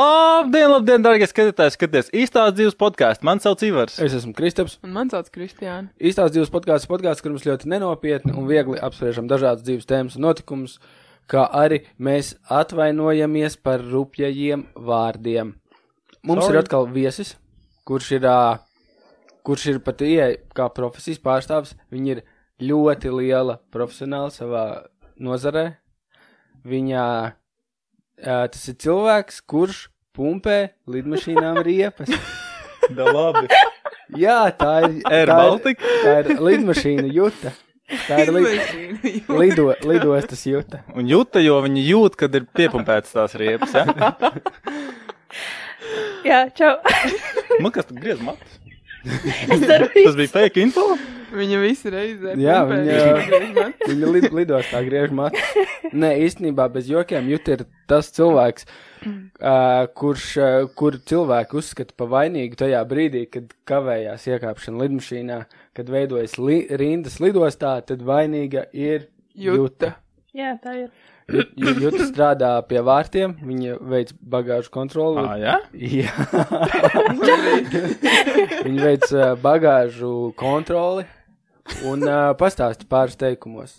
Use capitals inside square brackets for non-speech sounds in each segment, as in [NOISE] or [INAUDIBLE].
Labdien, labdien, darbie skatītāji! Skaties, īstās dzīves podkāstu. Man sauc Ivars. Es esmu Kristaps. Un man sauc Kristiāna. Īstās divas podkāstas, podkāsts, kur mums ļoti nenopietni un viegli apspriežam dažādas dzīves tēmas un notikumus, kā arī mēs atvainojamies par rupjajiem vārdiem. Mums Sorry. ir atkal viesis, kurš ir, ā, kurš ir pat ieeja kā profesijas pārstāvis. Viņa ir ļoti liela profesionāla savā nozarē. Viņa ā, tas ir cilvēks, kurš pumpē lidmašīnām riepas. [LAUGHS] Da labi. Jā, tā ir. Air tā ir- Baltic? Tā ir lidmašīna jūta. Tā ir li Lidmašīna. lido lidostas jūta. Un jūta, jo viņi jūt, kad ir piepumpētas tās riepas. Ja? Jā, čau. Man kas tur griez matus? Es ceru, ka Tas bija fake info. Viņa visu reizē. Jā, pumpē. viņa- Viņa lid, lidostā griež matus. Nē, īstenībā bez jokiem jūt ir tas cilvēks, uh, kurš, uh, kur cilvēku uzskata par vainīgu tajā brīdī, kad kavējās iekāpšana lidmašīnā, kad veidojas li rindas lidostā, tad vainīga ir jūta. Juta. jā, tā ir. Jut- Jūta strādā pie vārtiem, viņa veic bagāžu kontroli. Ah, jā? Jā, [LAUGHS] viņi veic uh, bagāžu kontroli un uh, pastāsta pāris teikumos.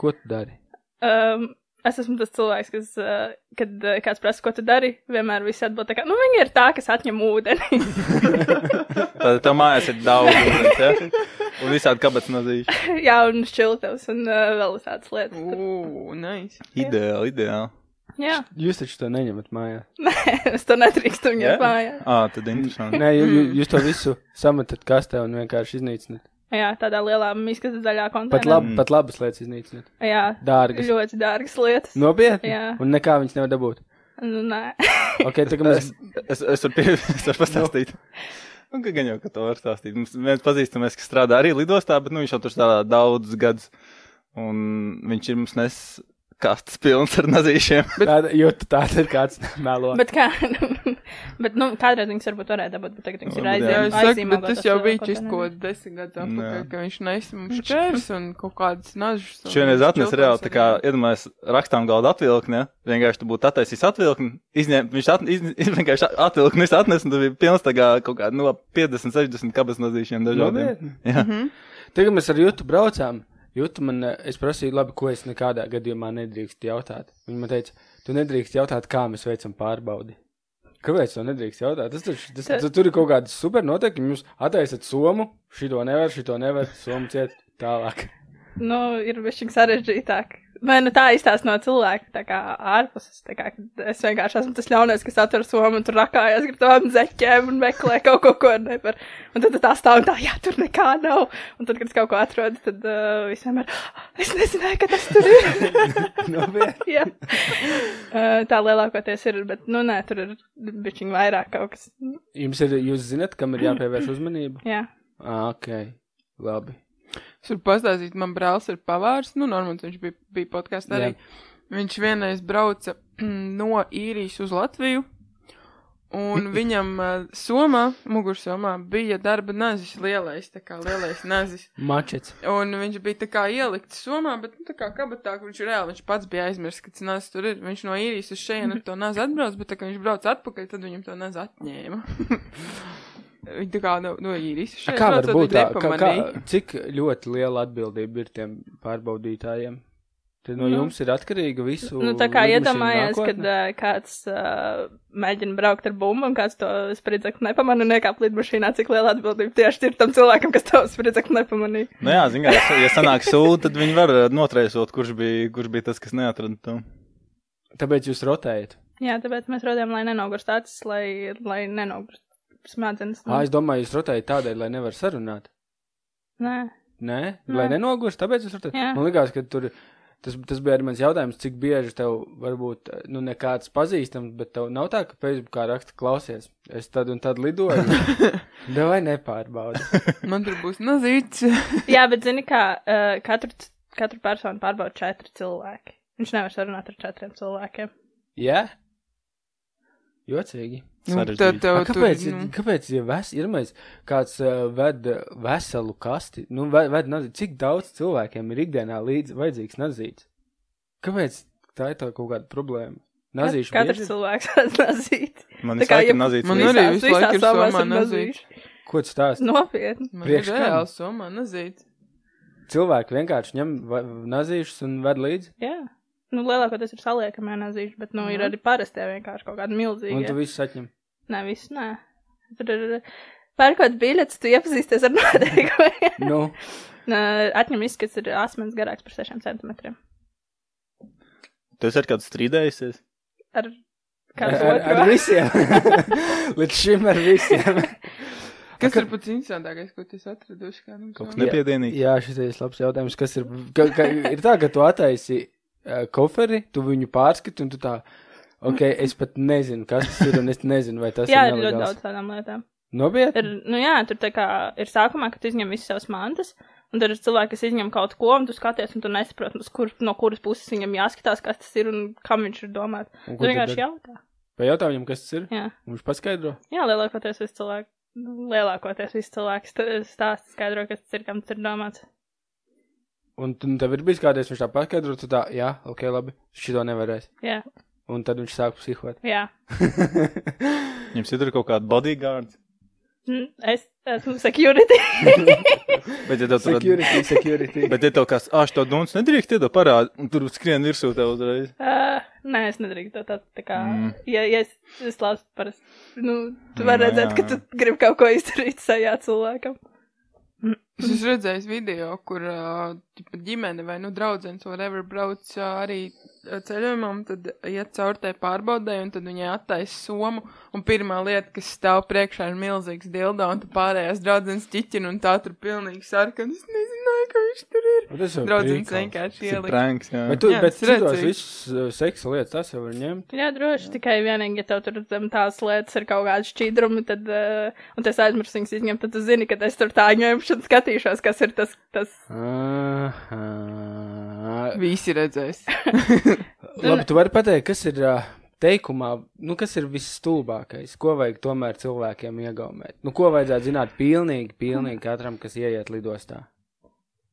Ko tu dari? Um, es esmu tas cilvēks, kas, uh, kad uh, kāds prasa, ko tu dari, vienmēr viss atbild tā kā, nu, viņi ir tā, kas atņem ūdeni. [LAUGHS] Tad tev mājās ir daudz ūdens. Ja? Un visādi kabatas nazīšu. jā, un šķiltavs un uh, vēl tādas lietas. Ugh, nice. Ideāli, ideāli. Jā, [LAUGHS] Jūs taču to neņemat mājā. es to nedrīkstu Jā? viņam mājās. Ā, tad interesanti. Nē, ju- ju- jūs to visu sametat kastē un vienkārši iznīcinat. Jā, tādā lielā miskas daļā Pat, konteinerā. lab, pat labas lietas iznīcinat. Jā, Dārgas. ļoti dārgas lietas. Nu. Nopietni. Jā. Un nekā viņas nevar dabūt. Nu, nē. [LAUGHS] Okay, tagad Es, mēs... [LAUGHS] es, es varu pie- [LAUGHS] es varu pastāstīt. Nu, ka gan jau, ka to var stāstīt. Mums viens pazīstamais, kas strādā arī lidostā, bet nu, viņš jau tur strādā daudzus gadus. Un viņš ir mums nes kastes pilns ar nazīšiem. [LAUGHS] Tāda, jūtu, tāda ir kāds [LAUGHS] melo. Bet, kā, [LAUGHS] bet, nu, kādreiz viņas varbūt varēja dabūt, bet tagad viņas ir Varbūt, jā. Jā, es aizņemtas. saku, bet tas jau bija šis kaut kāds desmit gadus atpakaļ, Jā. ka viņš nesa mums čērs un kaut kādas nažas. un Šodien atnesa šķiltavs reāli, tā kā arī. iedomājas rakstām galda atvilkni, ja? vienkārši tu būtu attaisījis atvilkni, izņemt, viņš at, iz, [LAUGHS] iz, vienkārši atvilkni visu atnes, un tur bija pilns tā kā kaut kāda, nu, 50, 60 kabas nazīšiem dažādiem. Nopietni? Jā. Tagad mēs ar Jūtu braucām. Jūtu man, eh, es prasīju, labi, ko es nekādā gadījumā nedrīkstu jautāt. Viņa man teica, tu nedrīkst jautāt, kā mēs veicam pārbaudi. Kāpēc to nedrīkst jautāt? Tas taču, tas, tas, tur ir kaut kāda super noteikuma. Jūs attaisat somu, šito nevar, šito nevar, somu ciet tālāk. Nu, ir bišķiņ sarežģītāk. Vai nu tā izstāsta no cilvēka, tā kā ārpuses. Tā kā, kad es vienkārši esmu tas ļaunais, kas atver somu un tur rakājās ar tām zeķēm un meklē kaut ko, ko nevar. Un tad tu tā stāv un tā, jā, tur nekā nav. Un tad, kad es kaut ko atrodu, tad uh, visiem ir, es nezināju, ka tas tur ir. Nopietni. [LAUGHS] jā. Uh, tā lielākoties ir, bet, nu, nē, tur ir bišķiņ vairāk kaut kas. Jums ir, jūs zinat, kam ir jāpievērš uzmanība? Jā. Ah, ok, labi. Es varu pastāstīt, man brālis ir pavārs, nu, normāls viņš bija, bija podkāstā arī. Jā. Viņš vienreiz brauca [CLEARS THROAT] no īrijas uz Latviju, [LAUGHS] un viņam eh, somā, mugursomā, bija darba nazis lielais, tā kā lielais nazis. Mačets. Un viņš bija tā kā ielikts somā, bet, nu, tā kā kabatā, ka viņš reāli, viņš pats bija aizmirsis, ka tas naz tur ir. Viņš no īrijas uz šejienu ar to naz atbrauc, bet, tā kā viņš brauc atpakaļ, tad viņam to naz atņēma. [LAUGHS] Viņa tā kā no, no īrijas uz A, šejienu. Kā var braucot, būt viņa tā? Kā, kā, nepamanīja. cik ļoti liela atbildība ir tiem pārbaudītājiem? Tad no Nu. jums ir atkarīga visu. Nu, tā kā lidmašīnu iedomājies, kad nākotne? uh, kāds uh, mēģina braukt ar bumbu, un kāds to spridzekli nepamanīja, nekāp lidmašīnā, cik liela atbildība tieši ir tam cilvēkam, kas to spridzekli nepamanīja. Nu jā, zinām, ja sanāk sūdi, tad viņi var eh, notraisot, kurš bija, kurš bija tas, kas neatrada to. Tāpēc jūs rotējat. Jā, tāpēc mēs rodām, lai nenogurst acis, lai, lai nenogurst smadzenes. Nu, Mm. Ah, es domāju, jūs rotējat tādēļ, lai nevar sarunāt. Nē, Nē, mm. lai Nē. nenogurst, tāpēc jūs rotējat. Jā. Man liekas, ka tur. Tas, tas bija arī mans jautājums, cik bieži tev varbūt nu, nekāds pazīstams, bet tev nav tā, ka Facebookā raksta, klausies, es tad un tad [LAUGHS] lidoju. Davai nepārbaudi. Man tur būs [LAUGHS] nazīts. jā, bet zini, kā uh, katru, c- katru personu pārbauda četri cilvēki. Viņš nevar sarunāt ar četriem cilvēkiem. Jā? Yeah? Jocīgi. Nu, Sarežģīti. tad tev A, kāpēc, tur, nu. kāpēc ja ves, ir mēs, kāds uh, ved uh, veselu kasti? Nu, ved, ved nazi, cik daudz cilvēkiem ir ikdienā līdz vajadzīgs nazīts? Kāpēc tā ir tā kaut kāda problēma? Nazīšu Katrs bieži. cilvēks redz nazīti. Man Tā ir kā saikta jeb- nazīts. Man līdzi. arī Visās- visu laiku visās ir somās somā ir nazīši. nazīši. Ko tas stāsta? Nu. Nopietni. Man ir Priekš kam? reāli somā nazīt. Cilvēki vienkārši ņem va- nazīšus un ved līdzi. Jā. Nu, lielākoties ir saliekamie nazīši, bet, nu, ir Mhm. arī parastie vienkārši kaut kādi Un tu milzīgi. visu atņem. Nē, viss, nē. Tur ir. Pērkot biļetes, tu iepazīsties ar noteikumiem. [LAUGHS] Nu, Nē, Atņem izskats ir asmens garāks par 6 centimetriem. Tu esi ar kādu strīdējusies? Ar ar, kādu ar, ar otru. visiem. [LAUGHS] Līdz šim ar visiem. Kas ir pats interesantākais, ko tu esi atraduši? Kā nu, mums Kaut kas nav? Jā. nepiedienīgs. Jā, šis ir labs jautājums. Kas ir? Ka, ka, ir tā, ka tu attaisi uh, koferi, tu viņu pārskati un tu tā. Ok, es pat nezinu, kas tas ir, un es nezinu, vai tas Jā, ir ir ļoti nelegāls. daudz tādām lietām. Ir, Nopietni. nu jā, tur tā kā ir sākumā, kad tu izņem visas savas mantas, un tad ir cilvēki, kas izņem kaut ko, un tu skaties, un tu nesaproti, uz kur, no kuras puses viņam jāskatās, kas tas ir un kam viņš ir domāts. Un Tu ko tu vienkārši dari? jautā. Pajautā viņam, kas tas ir. Jā, un Viņš paskaidro. jā lielākoties viss cilvēks. Lielākoties viss cilvēks st- stāsta, skaidro, kas tas ir, kam tas ir domāts. Un tu- un tev ir bijis kādreiz, viņš tā paskaidro, tu tā, jā, ok, labi, šito nevarēs. Jā, Un tad viņš sāk psihot. jā. [LAUGHS] Jums ir tur kaut kāda bodyguards. Mm, Es esmu security. [LAUGHS] Bet, ja tev tur security, [LAUGHS] security. Bet, ja tev kāds āš to dūns nedrīkst, tad parādi, un tur skrien virsū tev uzreiz. Uh, nē, es nedrīkstu to tādu. Tā kā, mm. Mm. ja, ja es, es lasu parasti, nu, tu Mm, vari nu redzēt, jā, ka jā. tu gribi kaut ko izdarīt sajā cilvēkam. Es esmu redzējis video, kur ā, tipa, ģimene vai nu, draugs whatever, brauc ā, arī ā, ceļojumā, un tad iet cauri tai pārbaudē, un tad viņai attaisa somu. Un pirmā lieta, kas stāv priekšā, ir milzīgs dildo, un tu pārējās draugs ķiķina, un tā tur pilnīgi sarkana. Es nezināju, ka viņš tur ir. Un tas jau Draudzins prikals. vienkārši Nu, Tas ir ielika. pranks, jā. Bet tu, Jā, bet tas redz, citos cik- visus uh, seksa lietas, tas jau var ņemt. Jā, droši jā. tikai vienīgi, ja tev tur zem tās lietas ir kaut kāda šķīdruma, tad, uh, un es aizmirsu viņas izņemt, tad tu zini, ka es tur tā ņemšu un skatīšos, kas ir tas, tas. Aha. Visi [LAUGHS] redzēs. Labi, tu vari pateikt, kas ir ā, teikumā, nu, kas ir visstulbākais, ko vajag tomēr cilvēkiem iegaumēt? Nu, ko vajadzētu zināt pilnīgi, pilnīgi katram, kas ieiet lidostā?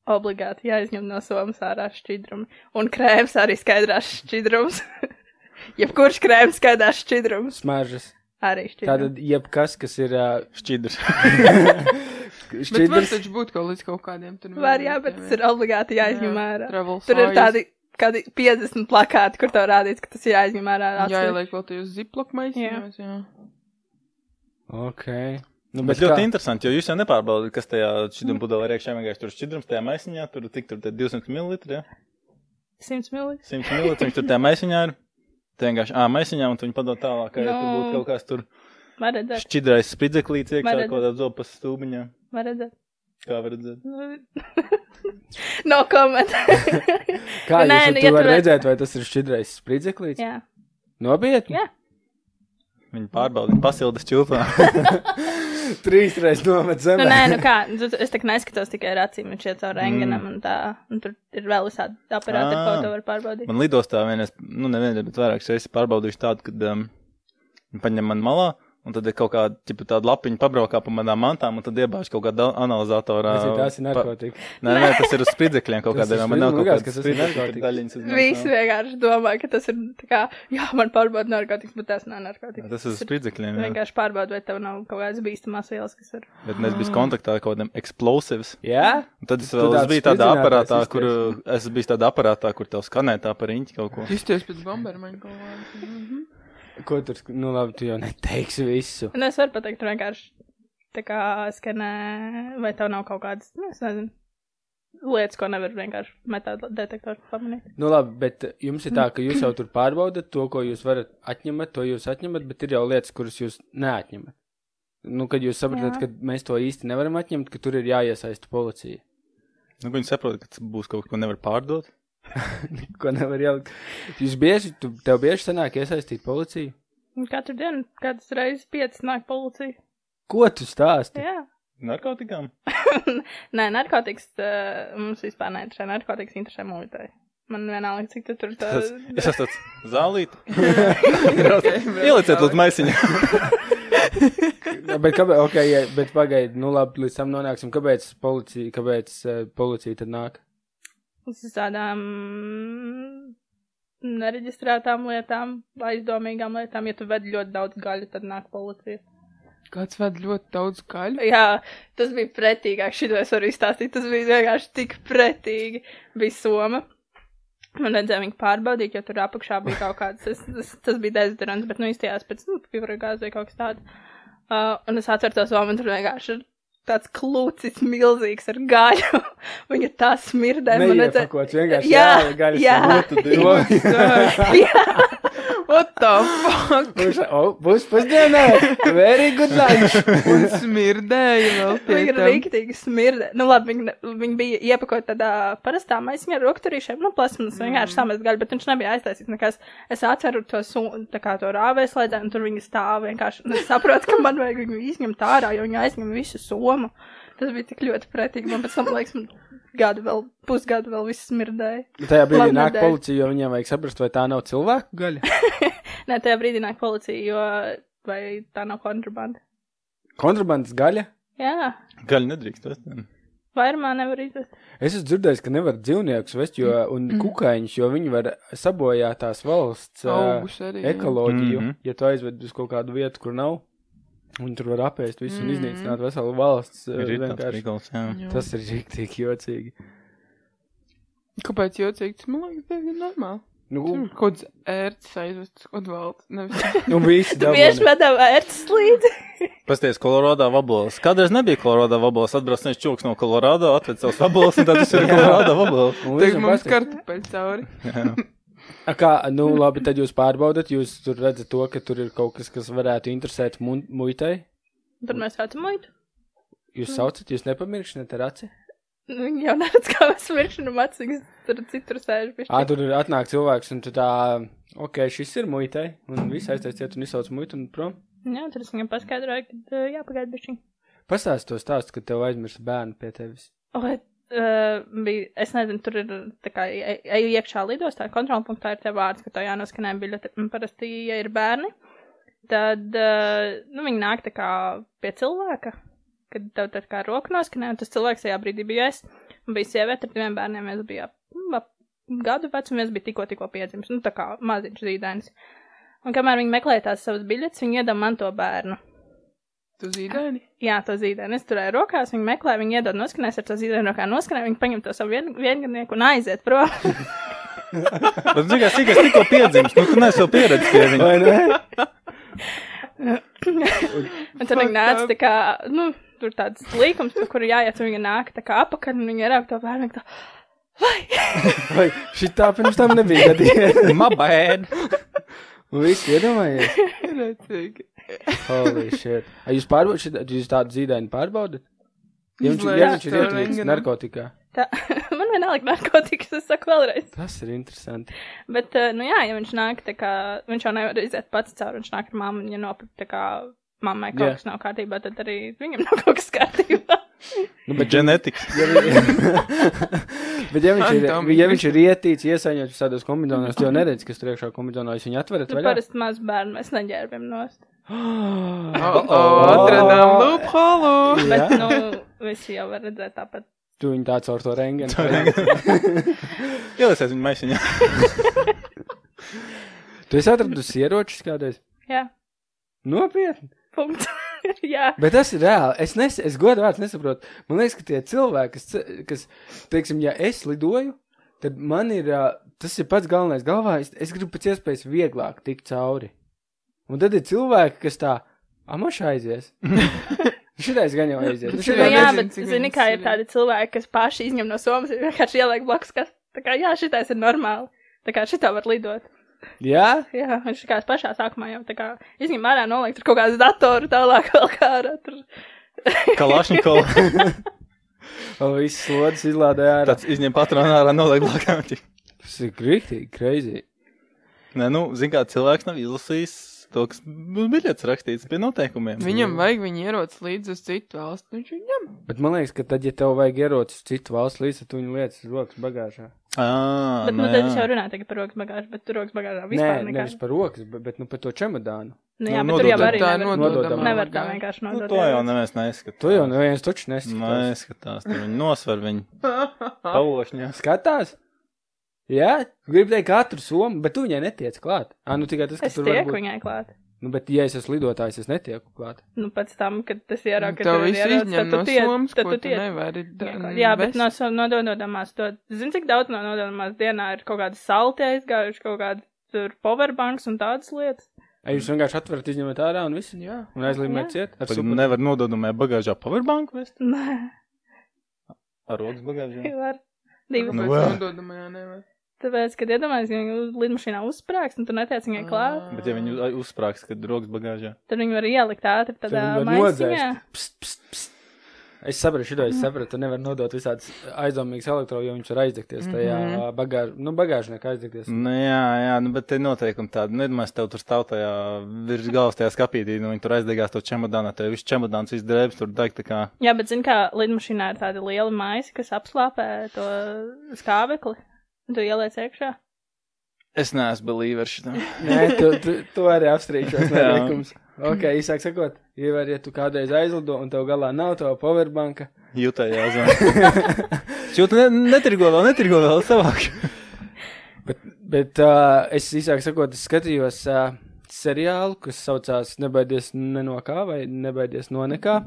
Obligāti jāizņem no somas ārā šķidrumi. Un krēms arī skaidrās šķidrums. [LAUGHS] Jebkurš krēms skaidrās šķidrums. Smaržas. Arī šķidrums. Tātad, jebkas, kas ir ā, Šķidrs. Bet var šķidrs, taču būt kaut līdz kaut kādiem tur. Var, jā, bet tas ir obligāti jāizņem ārā. Travel Tur ir size. tādi kādi 50 plakāti, kur tev rādīts, ka tas ir jāizņem ārā. Jā, atsevišķi. ieliek vēl tajos ziplakmaisiņos, jā. ok. Nu, [LAUGHS] Bet ļoti interesanti, jo jūs jau nepārbaudat, kas tajā šķidruma pudelē ir iekšā. Vienkārši tur šķidrums tajā maisiņā, tur cik tur tie 200 ml, ja? 100 ml. 100 ml, viņš tur tajā maisiņā ir. Tā vienkārši ā, maisiņā, un tu viņu padod tālāk, ka ja tur būtu kaut kāds tur Var redzēt, šķidrais spridzeklīts iekšā, Man kaut kādā zopas stūbiņā. var redzēt. Kā var redzēt? Nu, [LAUGHS] no komentāra. Kā Nē, Nē, jūs nu, ja ja tu varat redz- redzēt, vai tas ir šķidrais spridzeklīts? [LAUGHS] jā. Nobietni. Jā. Viņi pārbauda, viņi pasilda [LAUGHS] šķilpā. Trīsreiz nomet Nu, zemē. nē, nu kā, tu- tu- es tā kā neskatos tikai ar acīm, viņš iet caur rengenam un tā, un tur ir vēl visādi aparāti, ar ko Ā. to var pārbaudīt. Man lidostā vienreiz, nu nevienreiz, bet vairākas reizes pārbaudījuši tādu, kad um, viņi paņem mani malā, un tad ir kaut kāda tipa, tāda lapiņa pabraukā pa manām mantām, un tad iebāž kaut kādā analizatorā. Tas ir tās ir narkotika. Pa... Nē, nē, tas ir uz spridzekļiem kaut Tas kādā ir veidā. Man nav kaut spridzekļi, kādas likās, ka tas ir spridzekļu narkotikas. tur daļiņas uz Visi mantām. vienkārši domā, ka tas ir tā kā, jā, man pārbauda narkotikas, bet tas nav narkotikas. Tas ir [LAUGHS] uz spridzekļiem, jā. Vienkārši pārbauda, vai tev nav kaut kādas bīstamās vielas, kas ir. Bet mēs bijām kontaktā ar kaut kādiem explosives. Jā? Un tad es Tu vēl tāds es biju tādā aparātā, spridzinātājs izties. kur uh, es biju tādā aparātā, kur tev skanē tā par riņķi kaut ko. Justies pēc bombermaņa kaut kādā. Mhm. Ko tur, sk- nu labi, tu jau neteiksi visu. Nu, es varu pateikt, tur vienkārši tā kā skanē, vai tev nav kaut kādas, nu, es nezinu, lietas, ko nevar vienkārši metāla detektoru pamanīt. Nu, labi, bet eh, jums ir tā, ka jūs jau tur pārbaudat to, ko jūs varat atņemt, to jūs atņemat, bet ir jau lietas, kuras jūs neatņemat. Nu, kad jūs saprotat, Jā. ka mēs to īsti nevaram atņemt, ka tur ir jāiesaista policija. Nu, ka viņi saprot, ka tas būs kaut kas, ko nevar pārdot. Ko nevar ielikt. Jūs bieži, tu, tev bieži sanāk iesaistīt policiju. Un Katru dienu, kādas reizes piecas nāk policija. Ko tu stāsti? Jā. Narkotikām? Nē, narkotikas uh, mums vispār neinteresē. Narkotikas interesē mūzikai. Man vienalga, cik tu tur tā. Tas, es esmu tāds zālīt. Ielieciet [LAUGHS] Ielieciet uz maisiņu. Jā, bet, kāpēc, okay, jā, bet pagaidi, nu labi, līdz tam nonāksim. Kāpēc policija, kāpēc, eh, policija tad nāk? Uz tādām nereģistrētām lietām, aizdomīgām lietām. Ja tu ved ļoti daudz gaļu, tad nāk policija. Kāds vēl ļoti daudz [LAUGHS] gaļu. Jā, tas bija pretīgāk. Šito es varu izstāstīt. Tas bija vienkārši tik pretīgi. Bija Soma. Man redzēja, viņa pārbaudīja, jo tur apakšā bija kaut kāds, es, es, tas bija dezodorants, bet nu izstījās pēc, nu, pīvara gāzes vai kaut kas tāds. Uh, un es atceru to Somu, un tur vienkārši ir tāds klūcis milzīgs ar gaļu. [LAUGHS] viņa tā smirdē. man redzēja- Neiepakots vienkārši jā, Jā, jā, gaļas jā. un lietu divi. What the fuck? Kurš, o, būs pusdienā, very good lunch. Un smirdēja vēl pie Viņa ir tam. Nu, rīktīgi smirda. Nu, labi, viņa, ne- viņa bija iepakota tādā parastā maisiņā ar rokturīšiem, nu, plasmas vienkārši samest gaļu, bet viņš nebija aiztaisīts nekas. Es atceru to, su- tā kā to rāvēs laidā, un tur viņa stāv vienkārši. Un es saprotu, ka man vajag viņu izņemt ārā, jo viņa aizņem visu somu. Tas bija tik ļoti pretīgi. Man pēc tam, laiks, man gadu vēl, pusgadu vēl viss smirdēja. Tajā brīdī Labi, nāk nedēļ. policija, jo viņiem vajag saprast, vai tā nav cilvēku gaļa. Nē, tajā brīdī nāk policija, jo vai tā nav kontrabanda. Kontrabandas gaļa. Jā, Gaļu nedrīkst. Vest. vairumā nevar izdarīt. Es esmu dzirdējis, ka nevar dzīvniekus vest, jo, un Mm. kukaiņus, jo viņi var sabojāt tās valsts ā, Augus arī. ekoloģiju, Mhm. ja tu aizved uz kaut kādu vietu, kur nav, un tur var apēst visu un Mm. Mhm. iznīcināt veselu valsts. ā, Ir ir tāds vienkārši. rīkals, jā. Jā. Tas ir rīktīgi jocīgi. Kāpēc jocīgi? Tas man liekas diezgan normāli. Nu, Mm. Tur Kaut kāds ērts aizvest, kaut valds. [LAUGHS] Nevis. nu visi Tu bieži dabūna. vedā vērts līdzi. Pasties, Kolorādā vabols. Kādreiz nebija Kolorādā vabols. Atbrauc viens čūks no Kolorādā, atved savus vabols, un tad tas ir Kolorādā vabols. Un Tagad visiem mums patīk. kartupeļi cauri. A, Kā, nu, labi, tad jūs pārbaudat, jūs tur redzat to, ka tur ir kaut kas, kas varētu interesēt mun- muitai. Tur mēs atmuļam. Jūs saucat, jūs nepamiršat ar aci. Nu, Viņi jau neredz, kā mēs viršanu maciņas tur citur sēž. bišķi. Ā, tur ir atnāk cilvēks, un tu tā, ok, šis ir muitai, un viss aiztaisiet un izsauc muitu un prom. Jā, tur es viņam paskaidroju, ka uh, jāpagaida bišķi. Pastāst to stāstu, kad tev aizmirst bērnu pie tevis. O, Uh, bija, es nezinu, tur ir tā kā e- eju iekšā lidostā, kontrolpunktā ir tie vārds, ka tā jānoskanē biļete. Un Parasti, ja ir bērni, tad uh, nu, viņi nāk tā kā pie cilvēka, kad tev tā kā roka noskanē, un tas cilvēks tajā brīdī bija es. Un bija sieviete ar diviem bērniem, mēs bijām mm, ap gadu veci, un mēs bijām tikko, tikko piedzimis, nu tā kā maziņš zīdainis. Un kamēr viņi meklēja tās savas biļetes, viņi iedam man to bērnu. Tu zīdēni? Jā, to zīdēnu es turēju rokās, viņa meklē, viņa iedod noskanēs ar to zīdēnu rokā noskanē, viņa paņem to savu vien, viengadnieku un [LAUGHS] aiziet prom. Bet, zini, kā sīkās tikko piedzimis, nu, tu neesi jau pieredzējis pie [LAUGHS] viņa. Vai ne? un tad viņa nāca tā kā, nu, tur tāds līkums, tur, kur jāiet, un viņa nāk tā kā apakaļ, un viņa ierauk to bērnu, un tā, Vai šī tā pirms tam nebija gadījumā? Mabēd! [LAUGHS] Un viss iedomājies. [LAUGHS] Redzīgi. Holy shit. Ai, jūs pārbaudat, šit- jūs tādu zīdaini pārbaudat? Ja viņš, ja Izlaiž viņš ir to ietuvīgs rentgenu. narkotikā. tā [LAUGHS] man vienalga narkotikas, es saku vēlreiz. Tas ir interesanti. Bet, eh, nu jā, ja viņš nāk, tā kā, viņš jau nevar iziet pats cauri, viņš nāk ar mammu, un ja nopirkt, tā kā, mammai kaut Jā. kas nav kārtībā, tad arī viņam nav kaut kas [LAUGHS] kārtībā. Nu, bet ģenetikas. Ja [LAUGHS] vi- Bet, ja viņš ir, Fantomi. ja viņš ir ietīts, iesaņots visādos kombinācijos, tad jau neredz, kas tur iekšā kombinācijā ir. Viņu atverat Nu, vaļā. parasti maz bērnu mēs neģērbjam nost. O, Oh, o, atradām lūpholu. Bet, Jā, nu, visi jau var redzēt tāpat. tu viņu tā caur to rengenu. Ielasies viņa maisiņā. Tu esi atradus ieročus kādreiz? Jā. Nopietni. Punkts. [LAUGHS] Jā, Bet tas ir reāli. Es, nes, es godu vārdu nesaprotu. Man liekas, ka tie cilvēki, kas, ce- kas teiksim, ja es lidoju, tad man ir ā, tas ir pats galvenais galvā. Es, es gribu pēc iespējas vieglāk tikt cauri. Un tad ir cilvēki, kas tā amašā [LAUGHS] aizies. Šitais gan jau aizies. Nu, Bet nu, šitai Jā, gan- jā nezinu, bet cik zini, viņas kā ir ir. tādi cilvēki, kas paši izņem no somas, ir vienkārši ieliek blakus, kas tā kā, jā, šitais ir normāli. Tā kā šitā var lidot. Jā, Jā, viņš kā es pašā sākumā jau tā kā izņem ārā noliek tur kaut kādas datoru tālāk [LAUGHS] vēl kā ārā. Tur. Kalašņikola. O, visas slodzes izlādē ārā. Tāds izņem patronu ārā, noliek blakām. Tas ir grūti, greizi. Nē, nu, zini, kā cilvēks nav izlasījis to, kas uz biļetes rakstīts pie noteikumiem. Viņam vajag viņa ierodas līdz uz citu valstu. Viņš viņu ņem. Bet man liekas, ka tad, ja tev vajag ierocis uz citu valsts līdzi, tad tu viņu lietas uz rokas bagāžā. Ā, Bet, nu, Ah, nē, tad es jā. jau runāju tagad par rokas bagāžu, bet tur rokas bagāžā vispār Nē, nekā. nevis par rokas, bet, bet nu, par to čemodānu. Nu, jā, Nu, bet tur jau nododam. arī Tā nevar, nododam. nododama. nevar tā vienkārši Nu, nodot. to jau neviens neskatās. To jau neviens taču neskatās. [LAUGHS] neskatās. Tur viņi nosver viņu. Pavošņā. Skatās? Jā, gribu teikt, katru somu, bet tu viņai netiec klāt. Ā, nu tikai tas, ka Es tur tieku varbūt. viņai klāt. Nu, bet, ja es esmu lidotājs, es netieku klāt. Nu, pēc tam, kad tas ierauga, Nu, Tev kad viss izņem no somas, tad ko tu tu tiec. nevari. da- nu, Jā, bet vest. no savas nododamās to. Zini, cik daudz no nododamās dienā ir kaut kāda salte aizgājuši, kaut kāda tur powerbanks un tādas lietas. [LAUGHS] Ai, jūs vienkārši atverat, izņemat ārā un Nu viss. Jā. Un aizliemiet Jā. ciet. Ar Pagaid, super... Nevar nododumē bagāžā powerbanku vest? Nē, Ar rokas bagāžā. var. Tāpēc Divas. Nu, vā. nododamajā nevar. Tāpēc, kad iedomājies, ja viņi lidmašīnā uzsprāgs un tu netiec viņai Ah. klāt, Ah. Bet ja viņi uz- uzsprāgs, kad rokas bagāžā. tad viņi var ielikt ātri Tad tādā viņi var maisiņā. nodzēst. Pst, pst, pst. Es sapratu, šito es sapratu. Tu nevari nodot visādas aizdomīgas elektro, jo viņš var aizdegties tajā mm Mhm. -hmm. bagāž... nu, bagāžniekā aizdegties. Nu, jā, jā, nu, bet te noteikumi tādi. Nu, iedomājies, tev tur stāv tajā virs galvas tajā skapītī, nu, viņi tur aizdegās to čemodānu, tev viss čemodāns, viss drēbes tur deg tā kā. Jā, bet zini, kā lidmašīnā ir tāda liela maisi, kas apslāpē to skābekli. un Tu ieliec iekšā. Es neesmu believer [LAUGHS] šitam. Nē, tu, tu, tu arī apstrīdšos Jā. nelikums. Ok, īsāk sakot, ievēr, ja tu kādreiz aizlido un tev galā nav tava powerbanka, Jūtā [LAUGHS] jāzvan. Šūt, ne, netirgo vēl, netirgo vēl savāk. bet, bet uh, es īsāk sakot, es skatījos uh, seriālu, kas saucās Nebaidies ne no kā vai Nebaidies no nekā.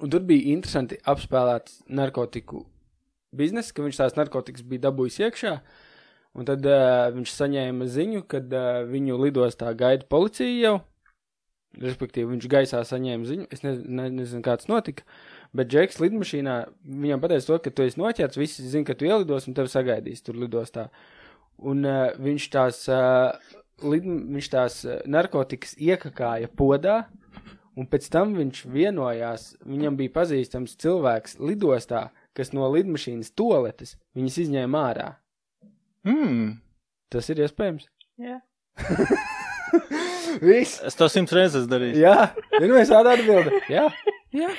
Un tur bija interesanti apspēlēts narkotiku biznesa, ka viņš tās narkotikas bija dabūjis iekšā. Un tad uh, viņš saņēma ziņu, ka uh, viņu lidostā gaida policija jau. Respektīvi, viņš gaisā saņēma ziņu. Es ne, ne, nezinu, kā tas notika. Bet Džeks lidmašīnā viņam pateica to, ka tu esi noķerts. Visi zina, ka tu ielidos un tevi sagaidīs tur lidostā. Un uh, viņš tās, uh, lid, viņš tās uh, narkotikas iekakāja podā. Un pēc tam viņš vienojās, viņam bija pazīstams cilvēks lidostā, kas no lidmašīnas toaletes viņas izņēma ārā. Mm. Tas ir iespējams. Jā. Viss. Es to simts reizes darīju. Jā, pirmā tāda atbilde. Jā. Jā.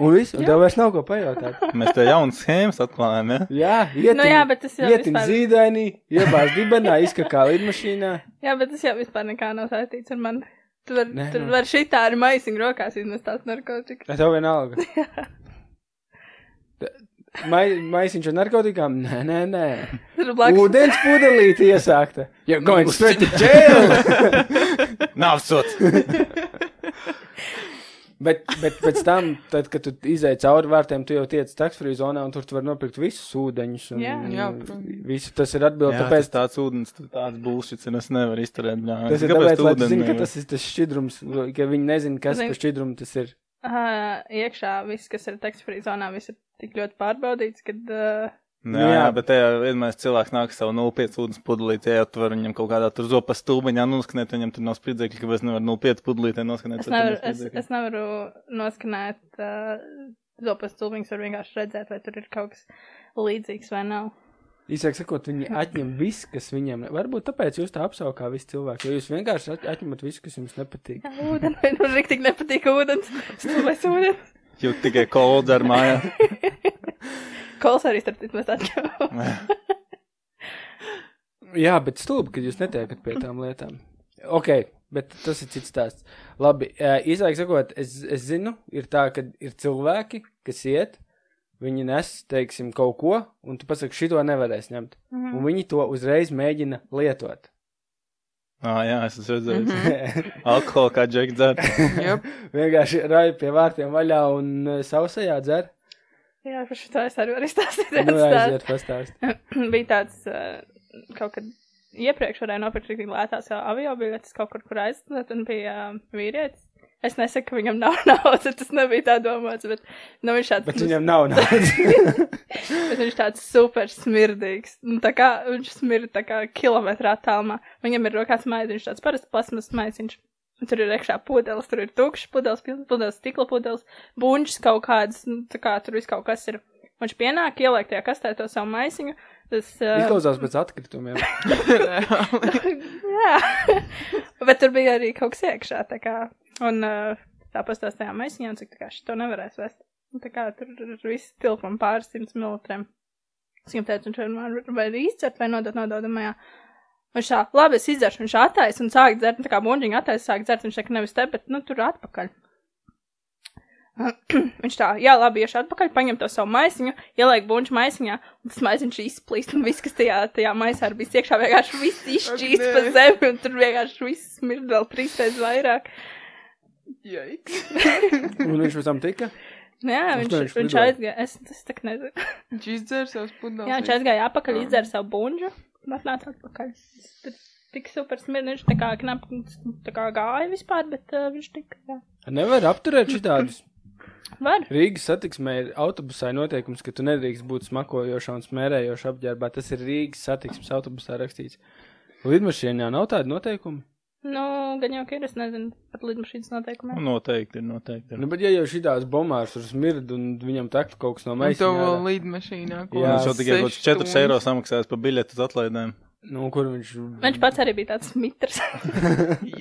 Un viss, un tev vairs nav ko pajautāt. Mēs te jaunas schēmas atklājām, [LAUGHS] jā. Jā, ietim, Nu jā, bet tas jau ietim vispār- zīdainī, iebāz dibenā, izkakā lidmašīnā. Jā, bet tas jau vispār nekā nav saistīts ar mani. Tu vari Nē, var, tu nu. var šitā ar maisiņu rokās izmest tās narkotikas. Ar tev vienalga. Ta- [LAUGHS] Mai, maisiņš ar narkotikām? Nē, nē, nē. Tur blakus. Ūdens pudelīte iesākta. Jā, going straight to jail. Nāvsot. Bet, bet pēc tam, tad, kad tu izēji cauri vārtiem, tu jau tiec taksfrī zonā un tur tu var nopirkt visus ūdeņus. Un, Jā. Jā, protams. visu, tas ir Jā, atbildi. Nu, Tāpēc, tāpēc tāds ūdens, tur tāds būšits, un es nevaru izturēt. Jā, tas ir tāpēc, lai tu zini, ka tas ir tas šķidrums, ka viņi nezina, kas Zini. par šķidrumu tas ir. Uh, iekšā viss, kas ir tekstfrī zonā, viss ir tik ļoti pārbaudīts, ka. Uh, Nu, Nu, jā, jā, jā. bet tajā vienmēr cilvēks nāk ar savu 0,5 ūdens pudelīti, ja tu vari viņam kaut kādā tur zopas stūbeņā noskanēt, viņam tur nav spridzekļi, ka es nevaru 0,5 pudelītē noskanēt. Es nevaru, es, es nevaru noskanēt uh, zopas stulbiņus, var vienkārši redzēt, vai tur ir kaut kas līdzīgs vai nav. Īsāk sakot, viņi atņem visu, kas viņiem. ne- Varbūt tāpēc jūs tā apsaukā visu cilvēku, jo jūs vienkārši at- atņemat visu, kas jums nepatīk. Jā, ūdeni, man nu, rīktīgi nepatīk ūdens, stulbais ūdens. Jūt tikai kolodzi ar mājā. [LAUGHS] Kols arī starp citu mēs [LAUGHS] atļaujam. Jā, bet stulbi, ka jūs netiekat pie tām lietām. Ok, bet tas ir cits stāsts. Labi, ē, īsāk sakot, es, es zinu, ir tā, ka ir cilvēki, kas iet, viņi nes, teiksim, kaut ko, un tu pasaki, šito nevarēs ņemt. Un Mhm. viņi to uzreiz mēģina lietot. [LAUGHS] Ā, jā, es esmu redzējis. Mhm. Alkohola kā džeks dzērt. [LAUGHS] Jā, Vienkārši rāja pie vārtiem vaļā un ē, sausajā dzer. Jā, par šo to es arī varu izstāstīt. Nu, vienu stāstu. aiziet pastāst. [CLEARS THROAT] bija tāds uh, kaut kad iepriekš varēja nopirkt tik lētās jau avio biļetes kaut kur, kur aizsūtīt, un bija uh, vīrietis. Es nesaku, ka viņam [LAUGHS] nav naudas, tas nebija tā domāts, bet, nu, viņš tāds, Bet viņam nav naudas. [LAUGHS] bet viņš tāds super smirdīgs. Nu, tā kā viņš smird tā kā kilometrā attālumā. Viņam ir rokās maiziņš, tāds parasts plasmas maiziņš. Un Tur ir iekšā pudeles, tur ir tukšs pudeles, pilns pudeles, stikla pudeles, buņķis kaut kāds, nu, tā kā tur viss kaut kas ir. Viņš pienāk, ieliek tajā kastē to savu maisiņu. Tas, uh, Izklausās pēc atkritumiem. reāli. [LAUGHS] [LAUGHS] Jā, bet tur bija arī kaut kas iekšā. Tā kā, un uh, tā pastāstījām maisiņā, cik tā kā šito nevarēs vest. Un tā kā tur ir visi tilpam pāris simts milimetriem. Es viņam teicu, viņš vienmēr vai nu izcert vai nodot nododamajā. Viņš tā, labi, es izdzeršu, viņš attais un sāk dzert, un tā kā buļģiņa attais, sāk dzert, viņš saka, nevis te, bet, nu, tur atpakaļ. [CLEARS THROAT] Viņš tā, jā, labi, iešu atpakaļ, paņem to savu maisiņu, ieliek buļbuļsu maisiņā, un tas maisiņš izplīst, un viss, kas tajā, tajā maisā ir bijis iekšā, vienkārši viss izšķīst nē. pa zemi, un tur vienkārši viss smird vēl trīsreiz vairāk. Jaiks. Un viņš pēc tam tika. Nu Jā, Uz viņš, ko viņš, viņš viņš lidoja? aizgāja, es tas tā kā nezinu. Viņš izdzēra savus pudeles. Jā, viņš aizgāja apakaļ, izdzēra savu buļbuļsu, un atnāca atpakaļ. Tur Tik super smirdi, viņš tā kā knapi tā kā gāja vispār, bet uh, viņš tik, jā. Nevar apturēt šitādus. Var. Rīgas satiksmē ir autobusā noteikums, ka tu nedrīkst būt smakojošā un smērējošā apģērbā. Tas ir Rīgas satiksmes autobusā rakstīts. Lidmašīnā nav tāda noteikuma. Nu, gan jau, ka ir, es nezinu par lidmašīnas noteikumiem. Nu, Noteikti ir, noteikti ir. Nu, bet ja jau šitās bombās tur smird un viņam taktu kaut kas no Un maisa, to vēl lidmašīnā. ko Jā, Jā, viņš es jau tikai kaut sešas 4 eiro stundas. samaksājis par biļeti uz atlaidēm. nu, kur viņš. [LAUGHS] Viņš pats arī bija tāds mitrs. [LAUGHS]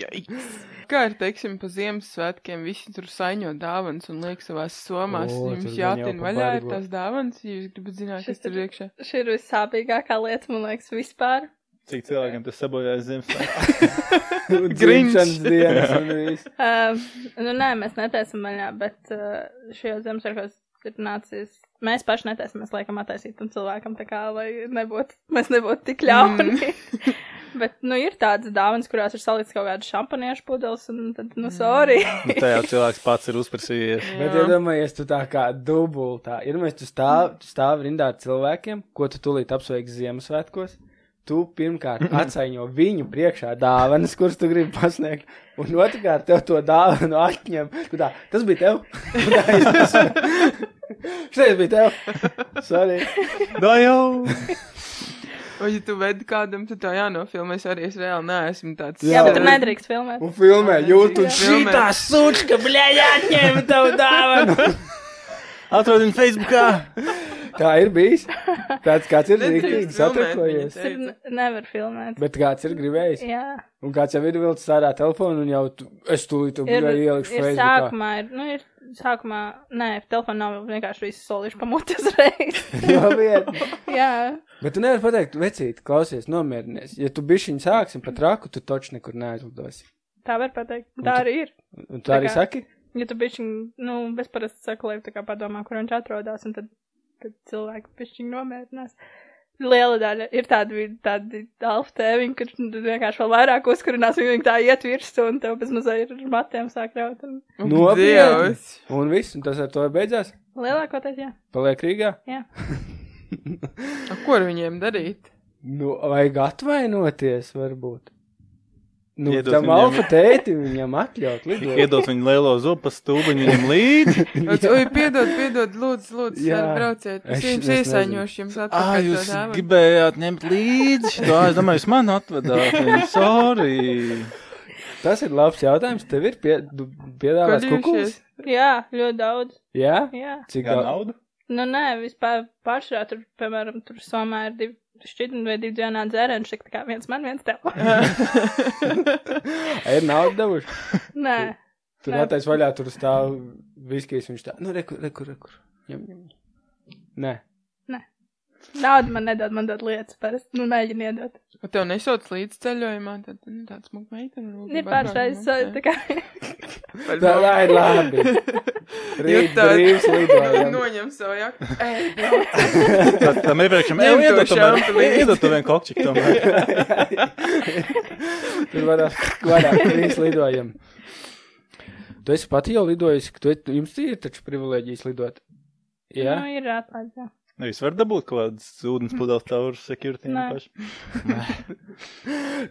Jaiks. Kā ir, teiksim, pa Ziemassvētkiem visi tur saņo dāvanas un liek savās somās. O, O, jums tur gan jau jātin pa vaļā ir bargu. tās dāvanas, ja jūs gribat zināt, Šis kas tur ir- iekšā. Šī ir vissāpīgākā lieta, man liekas, vispār. Cik cilvēkiem tas sabojājas Ziemassvētku? Grinčs. Grinčs dienas [LAUGHS] un viss. Uh, nu, nē, mēs netaisam vaļā, bet uh, šajos zemesargos ir nācis. Mēs paši netaisam, mēs laikam attaisīt tam cilvēkam, tā kā, lai nebūtu, mēs nebūtu tik ļauni. [LAUGHS] Mm. bet, nu, ir tādas dāvanas, kurās ir salikts kaut kāds šampaniešu pudeles, un tad, nu, sorry. Nu, tajā cilvēks pats ir uzprasījies. Bet iedomājies, tu tā kā dubultā. Iedomājies, tu stāv, tu stāv rindā ar cilvēkiem, ko tu tulīt apsveiksi Ziemassvētkos. Tu [LAUGHS] pirmkārt atsaiņo viņu priekšā dāvanas, kuras tu gribi pasniegt, un otrkārt tev to dāvanu atņem. Tu Tā, tas bija tev. [LAUGHS] Šis bija tev. Sorry. Da Nu, jau! Vai, ja tu vedi kādam, tad tā jānofilmēs arī. Es reāli neesmu tāds. [LAUGHS] Jā, Jā. bet tur nedrīkst filmēt. Un filmē, jūtu Filmē. šitā sučka, bļaļā, atņem tavu dāvanu. [LAUGHS] Atrodi viņu Facebookā! Tā ir bijis. Tāds kāds ir Nedrīkst rīktīgi filmēt satrakojies. viņas. Tur ne- nevar filmēt. Bet kāds ir gribējis? Jā, Un kāds jau ir vilcis ārā telefonu, un jau tu, es tūlīt to ir, ir ieliku Facebookā. sākumā, ir, nu, ir sākumā, nē, telefona nav vienkārši visu solīšu pamūties reiz. [LAUGHS] Nopietni. [LAUGHS] Jā. Bet tu nevari pateikt, vecīt, klausies, nomierinies. Ja tu bišķiņ sāksim pat raku, tu taču nekur neaizlidosi. Tā var pateikt. Tā arī ir. Un tu arī kā- saki? Ja tu bišķiņ, nu, es parasti saku, lai tā kā padomā, kur viņš atrodas, un tad, tad cilvēki bišķiņ nomierinās. Liela daļa ir tāda, vi- tādi alftēviņi, kur vienkārši vēl vairāk uzkurinās, viņi tā iet virsū, un tev bez mazā ir ar matiem sāk raut. Un... Ak, Nopietni! Dievs! Un viss, un tas ar to ir beidzās? Lielākoties, jā. Paliek Rīgā? jā. A, Ko ar viņiem darīt? Nu, vajag atvainoties, varbūt. Nu, Iedot tam viņam- alfa tēti viņam atļaut lidot. Iedot viņu lielo zupas stūbiņu viņam [LAUGHS] līdzi. Tāds, Oi, piedod, piedod, lūdzu, lūdzu, Jā. sēdi, brauciet. Es Es- jums es iesaiņošu, jums Ah, atpakaļ to jūs dāvanu. gribējāt ņemt līdzi. Tā, es domāju, jūs man atvedāt. Viņu. Sorry. Tas ir labs jautājums. Tev ir pie, du- piedāvāts kukulis? Gaļījušies. Jā, ļoti daudz. Jā? Jā. Cik Kā daudz? naudu? Nu, nē, vispār pašā tur, piemēram, tur somā ir divi. Šķidrumi vai divi dzēnā dzērēni, šik tā kā viens man, viens tev. Ir naudu devuši. Nē, Tur Nē. atais vaļā, tur stāv viskijas, viņš tā, nu, rekur, rekur, rekur. Ņem, ņem. Nē, naudu man nedod, man dod lietas, parasti, nu, mēģini iedot. Un tev nesauc līdz ceļojumā, tad nu, tāds smuka meitene. Ir nu, pāršais, tā kā tā tā ir [LAUGHS] labi. Rīt tā- [LAUGHS] brīvs lidojam. Noņem savu jaku. Ej, Tā- Tam iepriekšam jau Ņem to iedot tomēr- šampi līdzi. iedot to vienu kokčiku. [LAUGHS] tomēr. Tur vairāk, vairāk brīvs lidojam. Tu esi pati jau lidojusi, ka tu, esi- jums ir taču privilēģijas lidot. Jā? Nu, ir atlaidis. jā. Nevis var dabūt kaut kādas ūdens pudeles caur security. Nē. paši?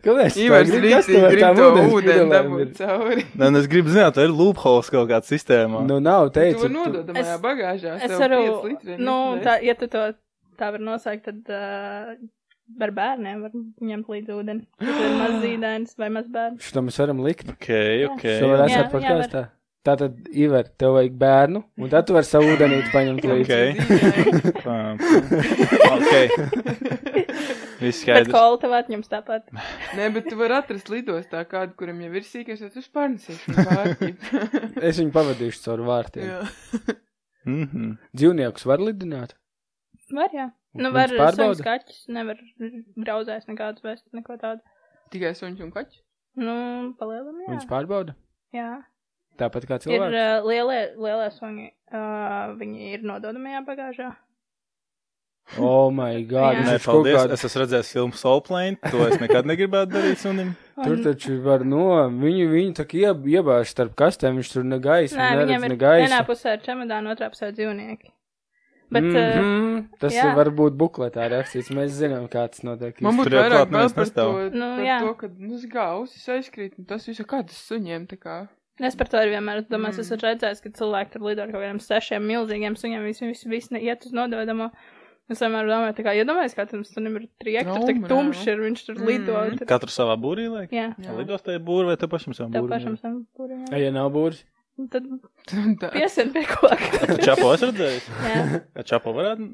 Kāpēc? tu tā Ivars gribi? Kas rītī tev ar grib tām to ūdens ūdeni pudelēm ir? dabūt cauri. Nē, nu es gribu zināt, vai ir loopholes kaut kādā sistēmā. Nu, nav teicu. To tu- nododamajā Es- bagāžā. Es tev piec varu, litri, nu, nezinu. tā, ja tu to tā var nosaukt, tad uh, ar bērniem var ņemt līdzi ūdeni. Ja tu ir mazīdainis vai mazbērns. Šo mēs varam likt. Ok, ok. Šo var Jā, atstāt jā, podkāstā. Tātad, Ivar, tev vajag bērnu, un tad tu vari savu ūdenīti paņemt līdzi. Ok. Zīmē. Pam, pam. Ok. [LAUGHS] Viss Bet skaidrs. kolu tev atņems tāpat. Nē, bet tu vari atrast lidostā kādu, kuram jau ir sīkais, tad viņš pārnesīs. Es viņu pavadīšu caur vārtiem. Jā. [LAUGHS] Jā. Mhm. Dzīvniekus var lidināt. Var, jā. Nu, Un var viņus pārbauda? suņu skaķus, nevar grauzēs nekādus vest, neko tādu. Tikai suņš un kaķis. Nu, palielam, jā. Viņus pārbauda. Jā. Tāpat kā Ir cilvēks. uh, lielie, lielie suņi, uh, viņi ir nododamajā bagāžā. Oh, my God! Jā. Nē, viņš kaut paldies. kādu- Es esmu redzējis filmu Soul Plane. To es nekad negribētu darīt [LAUGHS] sunim. Tur taču var no viņu, viņu tā kā ieb, iebāž starp kastēm, viņš tur ne gaisa, Nē, ne viņiem redz, ir ne gaisa. vienā pusē ir čemodāna, otrā pusē ir dzīvnieki. Bet, mm -hmm. -hmm. Tas jā. var būt bukletā rakstīts, mēs zinām, kāds notiek. Man īsti. tur būtu jau vairāk klāt bail neviens par to, nestāv. Nu, par jā. to, ka, nu, es kā ausis aizkrīt, un tas visu kā tas suņiem, tā kā. uh, es par to arī vienmēr esmu domājis, Mm. mm. esmu redzējis, ka cilvēki tur lido ar kaut kādiem sešiem milzīgiem suņiem, visi, visi, visi ne- iet uz nododamo. Es vienmēr domāju, tā kā, iedomājieties, kā tam sunim ir trieki, tur tik Trauma, tumšs jā. ir, viņš tur Mm. lido. un Tur... Katru savā būrī liek. Jā, Jā. [LAUGHS] Lidostā ir būri vai te pašam savam tev būrim? pašam sam purim. Ja nav [LAUGHS] būrs, Tad Tā. piesien pie koka. Čapo es redzēju. [LAUGHS] jā. Kā čapo varētu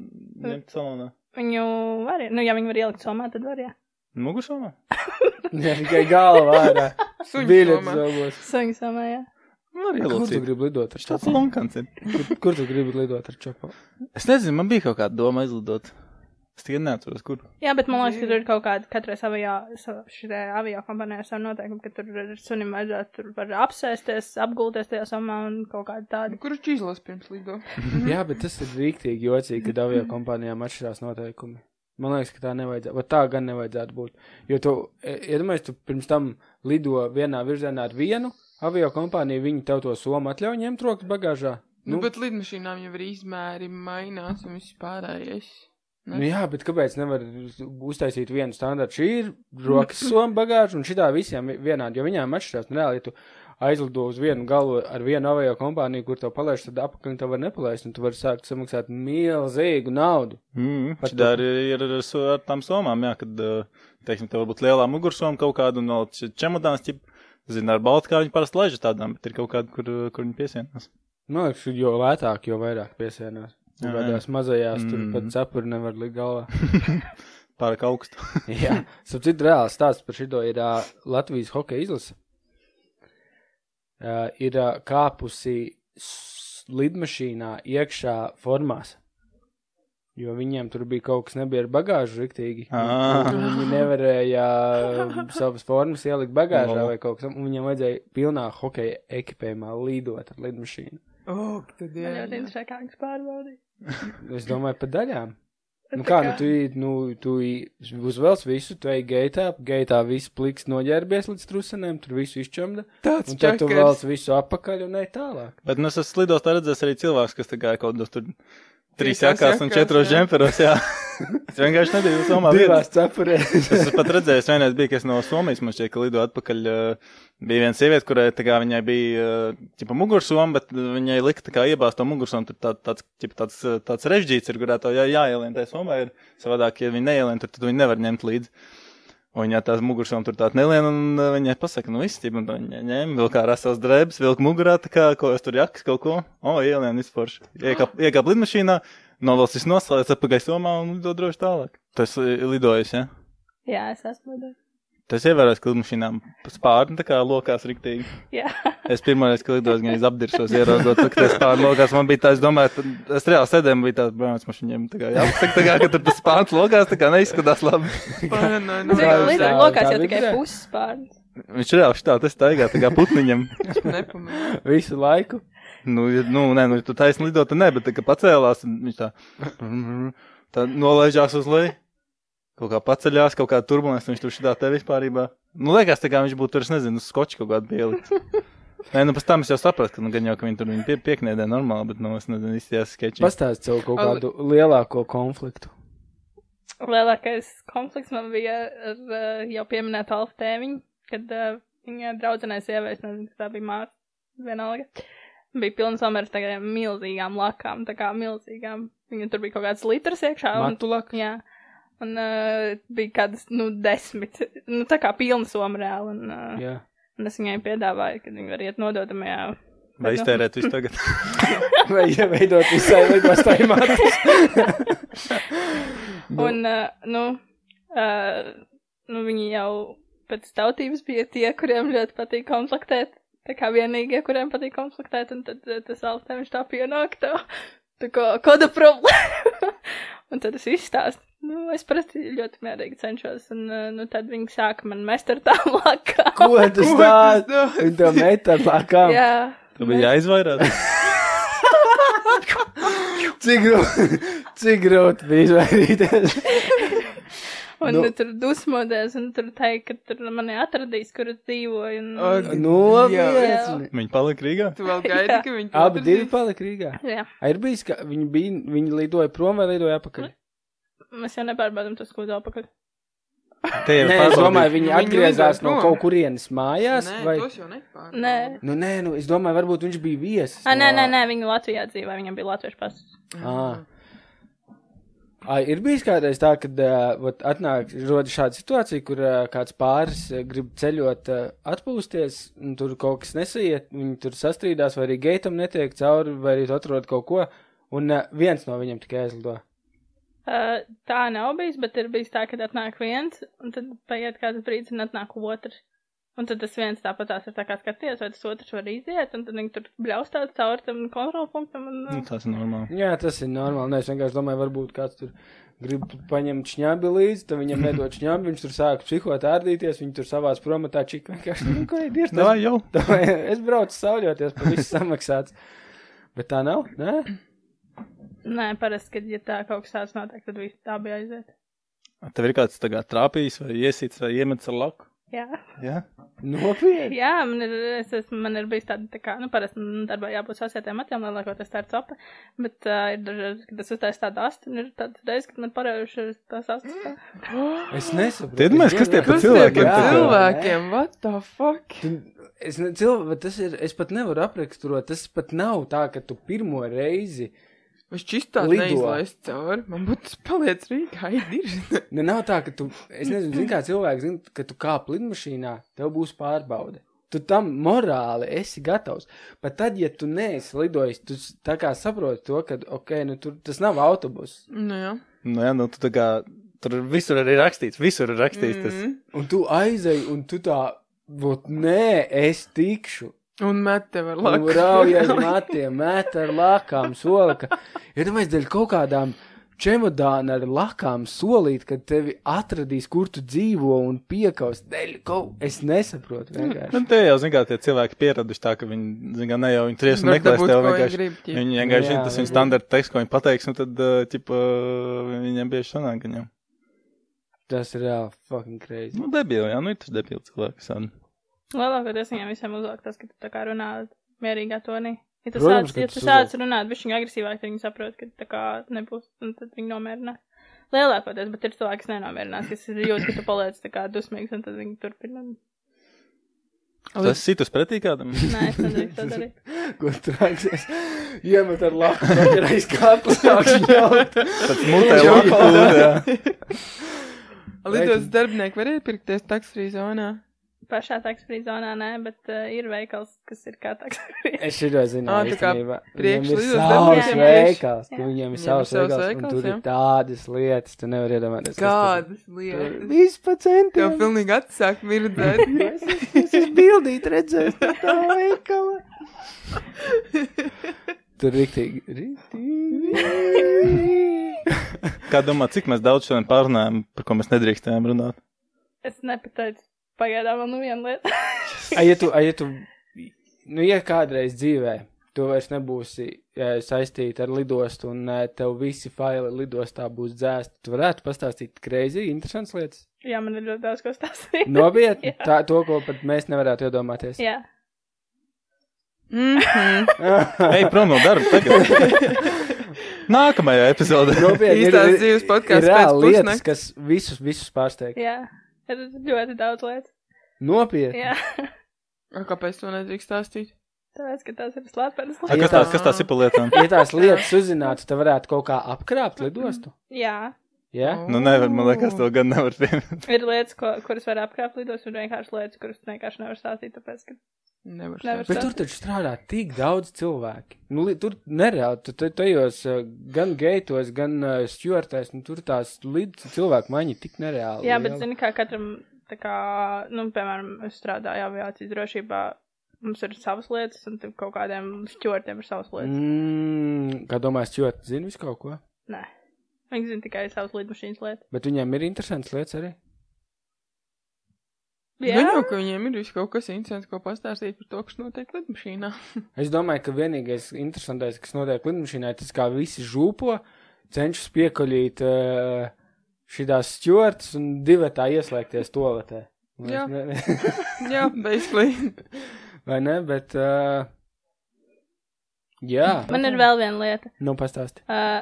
ņemt salonā? Viņu var, nu, ja viņi var ielikt somā, tad var, jā. Mugursalonā? ne tikai galvā ārā. Biļets Suņiem. zobos. Suņu somā, jā. Var Kur tu ielūcīt. gribi lidot Nu, ar Viņš tāds čopu? lunkans ir. Kur, kur tu gribi lidot ar čopu? Es nezinu, man bija kaut kāda doma aizlidot. Es tikai neatceros, kur. Jā, bet man liekas, ka tur ir kaut kāda katrai avio, šitai avio kompanijai savu noteikumu, ka tur ir sunim vajadzētu tur var apsēsties, apgulties tajā somā un kaut kāda tāda. Kurš čīzlas pirms lido? Jā, bet tas ir rīktīgi jocīgi, ka avio kompānijām atšķirās noteikumi. Man liekas, ka tā nevajadzētu, vai tā gan nevajadzētu būt. Jo tu, iedomājies, tu pirms tam lido vienā virzienā ar vienu avio kompāniju, viņi tev to somu atļauj ņemt rokas bagāžā. Nu, bet lidmašīnām jau ir izmēri, mainās un viss pārējais. Ne? Nu jā, bet kāpēc nevar uz- uztaisīt vienu standartu? Šī ir [LAUGHS] rokas soma bagāža un šitā visiem vi- vienādi, jo viņām atšķirās. Nu, Reāli, ja tu aizlido uz vienu galu ar vienu avio kompāniju, kur tev palaiž, tad apakaļ tev var nepalaist, un tu vari sākt samaksāt milzīgu naudu. Mm, Par tā arī ir ar, so- ar tām somām, jā, kad, uh, teiksim, tev varbūt lielā mugursoma kaut kāda un vēl č- čemodāns, ķip, zina, ar baltu kā viņi parasti laiž tādām, bet ir kaut kāda, kur, uh, kur viņi piesienās. Man liekas, jo lētāk, jo vairāk piesienās. Jā, jā. Tādās mazajās mm. Mm. tur pat cepuri nevar likt galvā. [LAUGHS] Pārāk augstu. Jā, sapratu, reāls stāsts par šito ir uh, Latvijas hokeja izlase. Uh, ir uh, kāpusi s- lidmašīnā iekšā formās. Jo viņiem tur bija kaut kas nebija ar bagāžu riktīgi. Ā. Un Viņi nevarēja uh, [LAUGHS] savas formas ielikt bagāžā No. vai kaut kas tam. un Viņiem vajadzēja pilnā hokeja ekipējumā lidot ar lidmašīnu. O, tad jā. Man ļoti jā. interesē, kā viņš pārbaudīja. Es domāju, pa daļām. Nu kā, nu tu, i- nu, tu i- uzvelc visu, tu ej gaitā, gaitā viss pliks noģērbies līdz trusenēm, tur visu izčamda, Tāds un tad tu [LAUGHS] čakars. velc visu apakaļ un ej tālāk. Bet, nu, es esmu lidos, tā redzēs arī cilvēks, kas tā kā ir kaut kādos tur trīs Trīsās jākās un jakās, četros jā. džemperos, jā. es vienkārši nebiju somā. vienas. Divās cepurēs. [LAUGHS] Es esmu pat redzēju, vienreiz bija, kas no Somijas man šķiet, ka lido atpakaļ. uh, Bija viena sieviete, kurai tā kā viņai bija eh, tipa mugursoma, bet uh, viņai lika tā kā iebāzt to mugursomu, tur tā, tāds, ķipa, tāds, uh, tāds režģīts ir, kurā tā jā, jāielien tai somai ir. Savādāk, ja viņi neielien, tur, tad viņi nevar ņemt līdzi. Un viņa tās mugursām tur tāda nelien, un uh, viņai pasaka, nu viss, ķipa, un tā viņa ņēma, vilkā rasās drēbes, vilka mugurā, tā kā, ko es tur jakas kaut ko, o, ielien, izforši. Iekāp, iekāp lidmašīnā, novalsis noslēdz apakaļ somā un lido droši tālāk. Tas uh, lidojas, jā. Ja? Jā, es esmu lidojis. Tas ievērās, ka lidmašīnām spārni tā kā lokās riktīgi. [LAUGHS] Jā, Es pirmoreiz, kad lidos, gan izapdirsos, ieraugot, to, ka tas spārni lokās. Man bija tā, es domāju, tad es reāli sēdēju, bija tāds brāns mašīniem. Tā kā jāpasaka, tā kā, ka tur tas spārns lokās, tā kā neizskatās labi. Paranoja, nu, nu, kā- lido kā- lokās kā jau tikai vidē? puses pārnes. Viņš reāli šitā, tas taigā, tā kā putniņam. es nepamanīju. Visu laiku. Nu, ja- nu, nē, nu, ja tu taisni lidot, tad nē, bet tā kā pacēlās, un viņš tā, tā nolaižās uz leju. Kaut kā paceļās, kaut kā turbulēs, viņš tur šitā te vispārībā. Nu, liekas, tā kā viņš būtu tur, es nezinu, uz skoču kaut kādu [LAUGHS] pielikt. Nē, nu, pēc tam es jau sapratu, ka, nu, gan jau, ka viņi tur viņu pie, pieknēdē normāli, bet, nu, es nezinu, īsti tās skeči. Pastāst sev kaut Al- kādu lielāko konfliktu. Lielākais konflikts man bija ar uh, jau pieminēto Alfa tēviņu, kad uh, viņa draudzenē sievietes, nezinu, kas tā bija māsa, vienalga. Bija pilns omers tagad milzīgām lakām, tā kā milzīgām. Viņa tur bija kaut kāds litrs iekšā. un- Matulak. Jā. Un uh, bija kādas, nu, desmit, nu, tā kā pilna soma reāli. Un, uh, Jā. un es viņai piedāvāju, ka viņi var iet nododamajā. Vai iztērēt visu [LAUGHS] tagad? Vai ieveidot visai lidostājumā. Nu. Un, uh, nu, uh, nu, viņi jau pēc tautības bija tie, kuriem ļoti patīk konfliktēt. Tā kā vienīgie, kuriem patīk konfliktēt, un tad uh, tas alftē viņš tā pienāk tev. Tā kā kāda problēma. [LAUGHS] un tad es izstāstu. Nu, es parasti ļoti mierīgi cenšos, un uh, nu, tad viņi sāka man mest ar tām [LAUGHS] lakām. Ko tu stāsti? Viņa tev met ar lakām. Jā, Tev bija [LAUGHS] jāizvairās. Cik grūti, [LAUGHS] cik grūti bija izvairīties. Un Nu. nu, tur dusmodies, un tur teikt, ka tur mani atradīs, kur es dzīvoju. Un... Nu, Jā. viens. Viņa palika Rīgā. Tu vēl gaidi, [LAUGHS] Jā. ka viņi to Abi divi atradīs? palika Rīgā. Jā, Ai, Ir bijis, ka viņi bija, viņi lidoja prom vai lidoja apakaļ? mēs jau nepārbaudām to skūdu apakaļ. Te jau Nē, es pārbaudīju. domāju, viņi Viņi atgriezās lidoja no prom. kaut kurienes mājās. Nē, Vai... tos jau nepār. Nē. Nu, nē, nu, es domāju, varbūt viņš bija viesis. Ah, nē, no- nē, nē, viņi Latvijā dzīvo, viņam bija latviešu pasis. Ā. Ai, ir bijis kādreiz tā, kad uh, atnāk rodas šāda situācija, kur uh, kāds pāris uh, grib ceļot, uh, atpūsties, un tur kaut kas nesaiet, viņi tur sastrīdās, vai arī geitam netiek cauri, vai arī tu atrod kaut ko, un uh, viens no viņiem tikai aizlido. Uh, tā nav bijis, bet ir bijis tā, ka atnāk viens, un tad paiet kāds brīdis, un atnāk otrs. Un tad tas viens tāpatās ir tā kā skaties, vai tas otrs var iziet, un tad viņi tur bļaustās cauri tam kontrolpunktam. Un, Nu, tas ir normāli. Jā, tas ir normāli. Nē, es vienkārši domāju, varbūt kāds tur grib paņemt šņābi līdzi, tad viņam nedod šņābi, viņš tur sāk psihot ārdīties, viņi tur savās promatā čik vienkārši, nu, ko ir, ir Nā, tas [LAUGHS] jau. Es braucu sauļoties, pa visu samaksāts. Bet tā nav? Nē? Nē, parasti, kad ja tā kaut kas tāds notiek, tad viss tā bija aiziet. Tev ir kāds tagad trāpījis vai iesīts vai iemetis ar laku? Jā. Jā. Nopietni! Jā, man ir, es esmu, man ir bijis tāda, tā kā, nu, parasti man darbā jābūt sasietiem matiem, lielākoties tā ir copa, bet uh, ir dažreiz, kad es uztaisu tādu astu, un ir tādas reizes, kad man parājušas tās astas. Tā. Es nesaprotu. Tad mēs, kas tie Es pa Kas cilvēkiem cilvēkiem? tā kā- Cilvēkiem, what the fuck? Tu- Es, ne, cilvē, tas ir, es pat nevaru apraksturot. Tas pat nav tā, ka tu pirmo reizi. Viņš čistās Lido. neizlaist cauri. Man būtu paliec Rīgā, ir diržina. Ne, Nu, nav tā, ka tu. Es nezinu, zin, kā cilvēks zina, ka tu kāp lidmašīnā, tev būs pārbaude. Tu tam morāli esi gatavs. Pat tad, ja tu neesi lidojis, tu s- tā kā saproti to, ka okay, nu, tur, tas nav autobus. Nu jā. Nu, jā, nu, tu tā kā tur visur arī rakstīts, visur ir rakstīts tas. Mhm. Un tu aizēji, un tu tā, vot, nē, es tikšu. Un met tev ar Nu, Un laku. Raujies matiem, met ar lakām, solaka. Ir domājis, dēļ kaut kādām čemodāna ar lakām solīt, ka tevi atradīs, kur tu dzīvo un piekaus. Dēļ kaut, es nesaprotu Nu, vienkārši. te jau, zināmā mērā, tie cilvēki pieraduši tā, ka viņi, zināmā mērā, ne jau viņi tries un Var meklēs dabūt, tev ko viņi vienkārši. grib, ķip. Viņi vienkārši Jā, zina, tas viņi- viņa standarta teksts, ko viņi pateiks, un tad, uh, tipa, viņiem bieži sanāk, ka jau. Tas ir reāli fucking crazy. Nu, debīli, jā, nu ir tas debīli cilvēks. jā. Lielākoties viņiem visiem uzlāk tas, ka tu tā kā runā mierīgā tonī. Ja tu Protams, sāc, ka ja tas tu uzvelk. sāc runāt, viņš ir agresīvāk, tad viņi saprot, ka tā kā nebūs, un tad viņi nomierinās. Lielākoties, bet ir cilvēki, kas nenomierinās, kas jūt, ka tu paliec tā kā dusmīgs, un tad viņi turpina. Tas situs pretī [LAUGHS] kādam. Nē, es nedrīkst to darīt. Ko trāksies? Iemet ar [LAUGHS] laku, kad ir aizkāpus, sākšu ļaut. Tad mutē Jā. lapu, jā. Lidos darbinieki varēja pirkties taksfrī zonā. Pašā taksfrī zonā nē, bet uh, ir veikals, kas ir kā taksfrī. [LAUGHS] Es šito zinu, Ā, tā kā Viņam priekš ir lidos savs darbiem tieši. veikals, ka Jā. viņiem ir Viņiem savs ir savs veikals, un veikals, tur ir jā. tādas lietas, tu nevar iedomāties. kas tur ir. Kādas lietas? Vispār Tev centīsies. pilnīgi atsāk [LAUGHS] mirdzēt. Es esmu bildīt, redzēs no tā [LAUGHS] veikala. Tur riktīgi. [LAUGHS] riktīgi. Kā domā, cik mēs daudz šodien pārunājam, par ko mēs nedrīkstējām runāt? Es nepateicu pagaidām vēl nu vienu lietu. [LAUGHS] Ai, ja tu, ai, ja tu, nu, ja kādreiz dzīvē tu vairs nebūsi e, saistīta ar lidostu un e, tev visi faili lidostā būs dzēsti, tu varētu pastāstīt kreizī, interesants lietas. Jā, man ir ļoti daudz ko stāstīt. Nopietni, Jā. tā, to, ko pat mēs nevarētu iedomāties. [LAUGHS] Jā. Mhm. Ej, prom no darba [LAUGHS] tagad. Nākamajā epizodē. [LAUGHS] Nopietni, ir- Īstās ir- dzīves podcasts ir reāli pēc lietas, pusnakts. kas visus, visus pārsteig. Jā. Ir ļoti daudz lietu. Nopietni. Jā. [LAUGHS] Kāpēc to nedrīkst stāstīt? Tāpēc, ka tās ir slēpenes A, Kas tās, kas tās ir pa lietām? Ja tās lietas uzzinātu, tad varētu kaut kā apkrāpt lidostu. Jā, Ja? Nu, nevar, man liekas, to gan nevar [LAUGHS] pieminēt. ir lietas, ko, kuras var apkrāpt lidos, un vienkārši lietas, kuras vienkārši nevar stāstīt, tāpēc, ka Nevar. Nevar stāstīt. Bet tur taču strādā tik daudz cilvēku. Nu, li- tur nereāli, tu tu- tajos eh, gan geitos, gan eh, stjortēs, nu, tur tās līdz cilvēku maiņa tik nereāli. Jā, bet liela. zini, kā katram, tā kā, nu, piemēram, es strādāju aviācijas drošībā, mums ir savas lietas, un tur kaut kādiem šķortiem ir savas lietas. Mm, kā domā, stjorti zina visu kaut ko, Mm. Nē, viņi zina tikai savas lidmašīnas lietas. bet viņiem ir interesants lietas arī. Jā, jau ka viņiem ir viss kaut kas interesants, ko pastāstīt par to, kas notiek lidmašīnā. [LAUGHS] Es domāju, ka vienīgais interesantais, kas notiek lidmašīnā, ir tas, kā visi žūpo, cenšas piekaļīt uh, šīs stūrtas un divatā ieslēgties toaletē. Un es Jā. ne- [LAUGHS] Jā, basically. Vai ne? Bet, uh, jā, Man ir vēl viena lieta. nu pastāsti. Uh,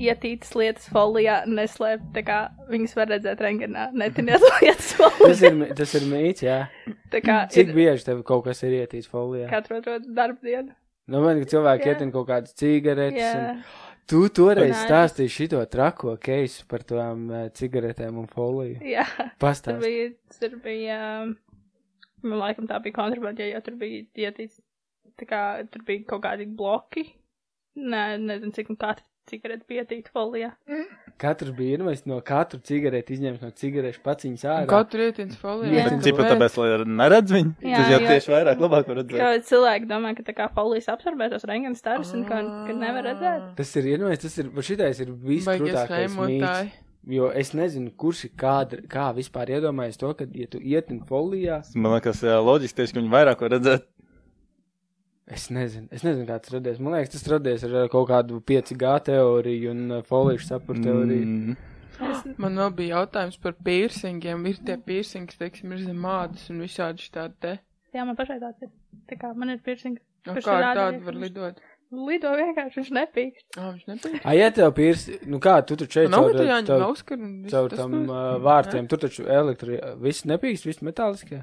Ietītas lietas folijā neslēp, tā kā viņas var redzēt rangenā. Netinies [LAUGHS] lietas Tas folijā. ir, mi- tas ir mīts, jā. Tā kā Cik ir bieži tev kaut kas ir ietīs folijā? katru otro darbu dienu. Nu, man ir cilvēki Jā. ietin kaut kādas cigaretes. Jā. Un... Tu toreiz Nē. stāstīji šito trako keisu par tām eh, cigaretēm un foliju. Jā, tur Pastāsti. bija, tur bija, um, man laikam tā bija kontrabanda, jo tur bija ietīts, tā kā tur bija kaut kādi bloki. Nē, nezinu, cik un kāda cigarete bija ietīta folijā. Mm. Katrs bija ienvaists no katru cigareti izņemts no cigarešu paciņas ārā. Katru ietienu Jā. folijā. Bet, cipa, tāpēc, lai neredz viņu, Jā, tas jau jo- tieši vairāk, labāk var redzēt. Kā cilvēki domā, ka tā kā folijas apsorbē tos rangen starus un ka, ka nevar Ah. redzēt. Tas ir ienvaists, tas ir, šitais ir Baigies viskrūtākais mīts. laimotāji. Jo es nezinu, kurš ir kāda, kā vispār iedomājas to, ka, ja tu ietin folijā, Man liekas, jā, loģiski, tieši, ka viņi vairāk var redzēt. es nezinu, es nezinu, kā tas radies. Man liekas, tas radies ar eh, kaut kādu 5G teoriju un eh, foliešu sapuru teoriju. Mm. Man vēl bija jautājums par piercingiem. Ir tie piercingi, teiksim, ir zem ādas un visādi šitādi te. Jā, man pašai tāds ir. Tā kā man ir piercings. No Kurš kā ir ar āda tādu var iekšā? lidot? Lido vienkārši, viņš nepīk. Ā, viņš nepieņem. Ai, ja tev pirs, nu kā, tu taču šeit Nav caur, tā eh, jāņem caur, Oskar un viss caur tas tam nu- uh, vārtiem, tur taču elektri, viss nepīkst, viss metāliskie.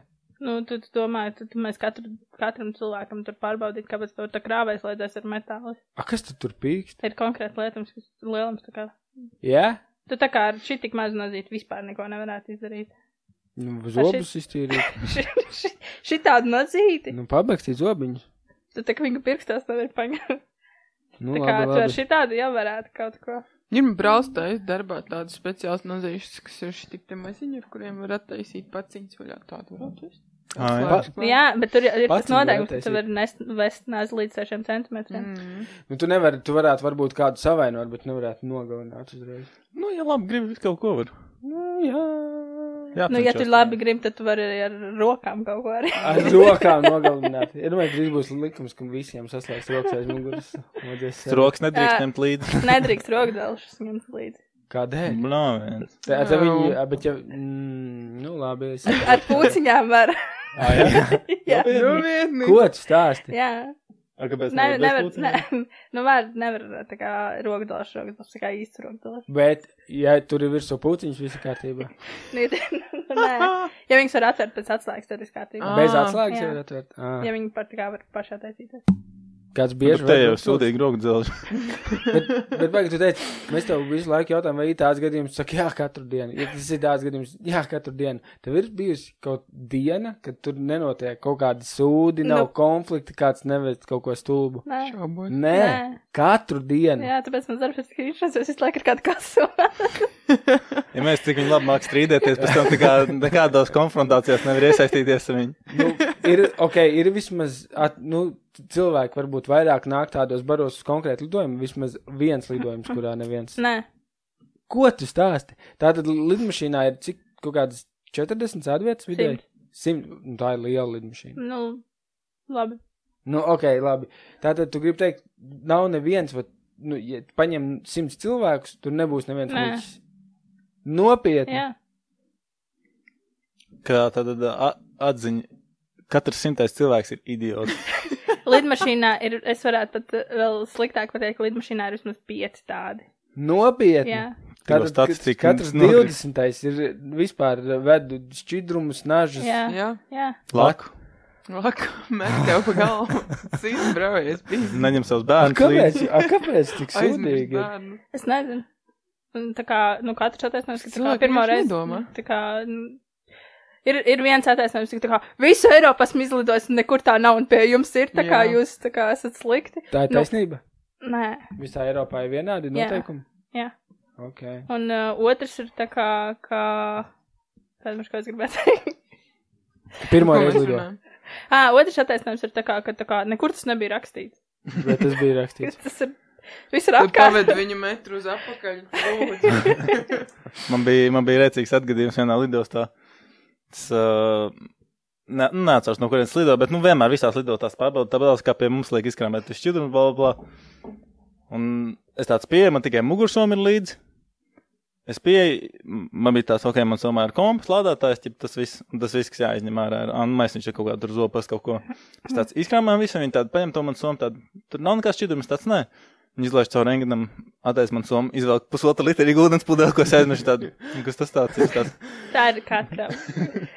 Nu, tu, tu domā, tu, tu mēs katru, katram cilvēkam tur pārbaudīt, kāpēc tur tā krāvēs lēdēs ar metālu. A, kas tad tur pīkst? Ir konkrēti lietums, kas lielums tā kā. Jā? Tu tā kā ar šī tik maz nozīt vispār neko nevarētu izdarīt. [LAUGHS] Nu, šeit- zobus iztīrīt. Ši- ši- Šitādu nozīti. Nu, pabakstīt zobiņus. Tu tā kā viņa pirkstās nevar paņemt. Nu, Tā kā labi, tu ar labi. šitādu jau varētu kaut ko. Viņam brālstājas darbā tādas speciālas nozīmes, kas ir šī tik te maziņi, ar kuriem var attaisīt paciņas vaļā. Tādu varētu uztaisīt. Ai. Atslēgas klāt. Jā, bet tur jau ir Pats tas noteikums, ka nevarētu tu vari nest, vest nāzi līdz 6 centimetriem. Mm. Nu, tu nevari, tu varētu varbūt kādu savainot, bet nevarētu nogalināt uzreiz. Nu, ja labi, gribi kaut ko var. Nu, jā. Jā, Nu, ja tu labi gribi, tad tu vari arī ar rokām kaut ko arī. [LAUGHS] Ar rokām nogalināt. Ir vai drīz būs likums, ka visiem saslēgs rokas aiz muguras. Vajadzēs, eh, Stroks nedrīkst Ā. ņemt līdzi. Nedrīkst rokdēlušas ņemt līdzi. Kādēļ? Nā, viens. Tā, tā viņi, Nav. ā, bet ja, mm, nu, labi, [LAUGHS] es. Ar pūciņām var. [LAUGHS] Ā, jā. Jā. Nu, vietni. Ko tu stāsti? Jā. A, kāpēc? Ne, nevar bez nevar, ne, [LAUGHS] pūciņiem? nu, var, nevar tā kā rokdēlušas, rokdēlušas, tā kā īsts rokdēlušas. Bet, ja tur ir virsū pūciņš, viss ir kārtībā. Nē, [LAUGHS] nu, nē. Ja viņas var atvērt pēc atslēgas, tad ir kārtībā. Ā. Bez atslēgas Ah, jā. jau atvērt. Ja Ah. Ā. viņi pat tā kā var pašā taisīties. Kāds Nu, Bet bieži Te vajag jau būt pūciņš? sūdīgi roku dzelž. Bet, bet vai tu teici, mēs tev visu laiku jautājam, vai ir tāds gadījums, saka, jā, katru dienu. Ja tas ir tāds gadījums, jā, katru dienu. Tev ir bijusi kaut diena, kad tur nenotiek kaut kāda sūdi, nav Nu. konflikta, kāds nevest kaut ko stulbu. Nē. Šaubot. Nē, Nē. katru dienu. Jā, tāpēc man darbs ir skrišanas, es visu laiku ar kādu kasu. [LAUGHS] Ja mēs cik viņi labi māk strīdēties, pēc tam tā kā nekādās konfrontācijās nevar iesaistīties ar viņu. Nu, ir, ok, ir vismaz, at, nu, cilvēki varbūt vairāk nāk tādos baros uz konkrētu lidojumu, vismaz viens lidojums, kurā neviens. Nē, Ko tu stāsti? Tātad lidmašīnā ir cik kaut kādas 40 sēdvietas vidēji? Simt. 100. Nu, tā ir liela lidmašīna. nu, labi. Nu, ok, labi. Tātad tu gribi teikt, nav neviens, bet, nu, ja paņem simts cilvēkus, tur nebūs neviens Nē. muļķis. Nopietni. Jā, Kā tad atziņa, katrs simtais cilvēks ir idiots. lidmašīnā ir, es varētu pat eh, vēl sliktāk pateikt, ka lidmašīnā ir vismaz pieci tādi. Nopietni. Jā, Tikko Tātad statistika kat- katrs nodri- 20. ir vispār vedu šķidrumus, nažas. jā, Jā, jā. Laku. laka, met tev pa galvu. Sīs, [LAUGHS] braujies, bija. Neņem savus A, bērnus kāpēc, līdzi. a, kāpēc tik [LAUGHS] Aizmirst Nu. sūdīgi? ir? bērnu. Es nezinu. Un tā kā, nu, katrs attaisnojums, ka tā kā Cilvēki pirmo vienkārši reizi. nedomā. Tā kā, nu, ir, ir viens attaisnojums, ka tā kā visu Eiropu esmu izlidojis un nekur tā nav un pie jums ir, tā kā Jā. jūs, tā kā esat slikti. Tā ir Nu. taisnība. Nē. Visā Eiropā ir vienādi Jā. noteikumi. Jā. Ok. Un uh, otrs ir tā kā, kā... Kādu mums kāds gribētu teikt? [LAUGHS] Pirmo Ko mēs reizi lido. runājam? Ā, otrs attaisnojums ir tā kā, ka tā kā nekur tas nebija rakstīts. Bet tas bija [LAUGHS] rakstīts. Tas ir... Viss ir Tad apkārt. paved viņu metru uz apakaļ. Lūdzu. [LAUGHS] Man bija, man bija rēcīgs atgadījums vienā lidostā. Es uh, ne, nu, neatceros, no kurienes lido, bet nu, vienmēr visās lidotās pārbaudas tabelās, kā pie mums liek izkrāmēt uz šķidrumu, bla, bla, bla. Un es tāds pieeju, man tikai mugursomi ir līdzi. Es pieeju, m- man bija tāds, ok, man somā ir kompas, lādētājs, ķip, tas viss, un tas viss, kas jāizņem ārā, ir anumais, viņš ir kaut kādā tur zopas kaut ko. Es tāds izkrāmēju visu, viņi tādu paņem to man somu, tādu, tur nav nekāds šķidrums, tāds nē. Viņi izlaiž caur rengenam, attais man somu, izvelk pusotru litru ūdens pudeli, ko es aizmirsu tādu. Un Kas tas tāds ir? Tāds. Tā ir katra.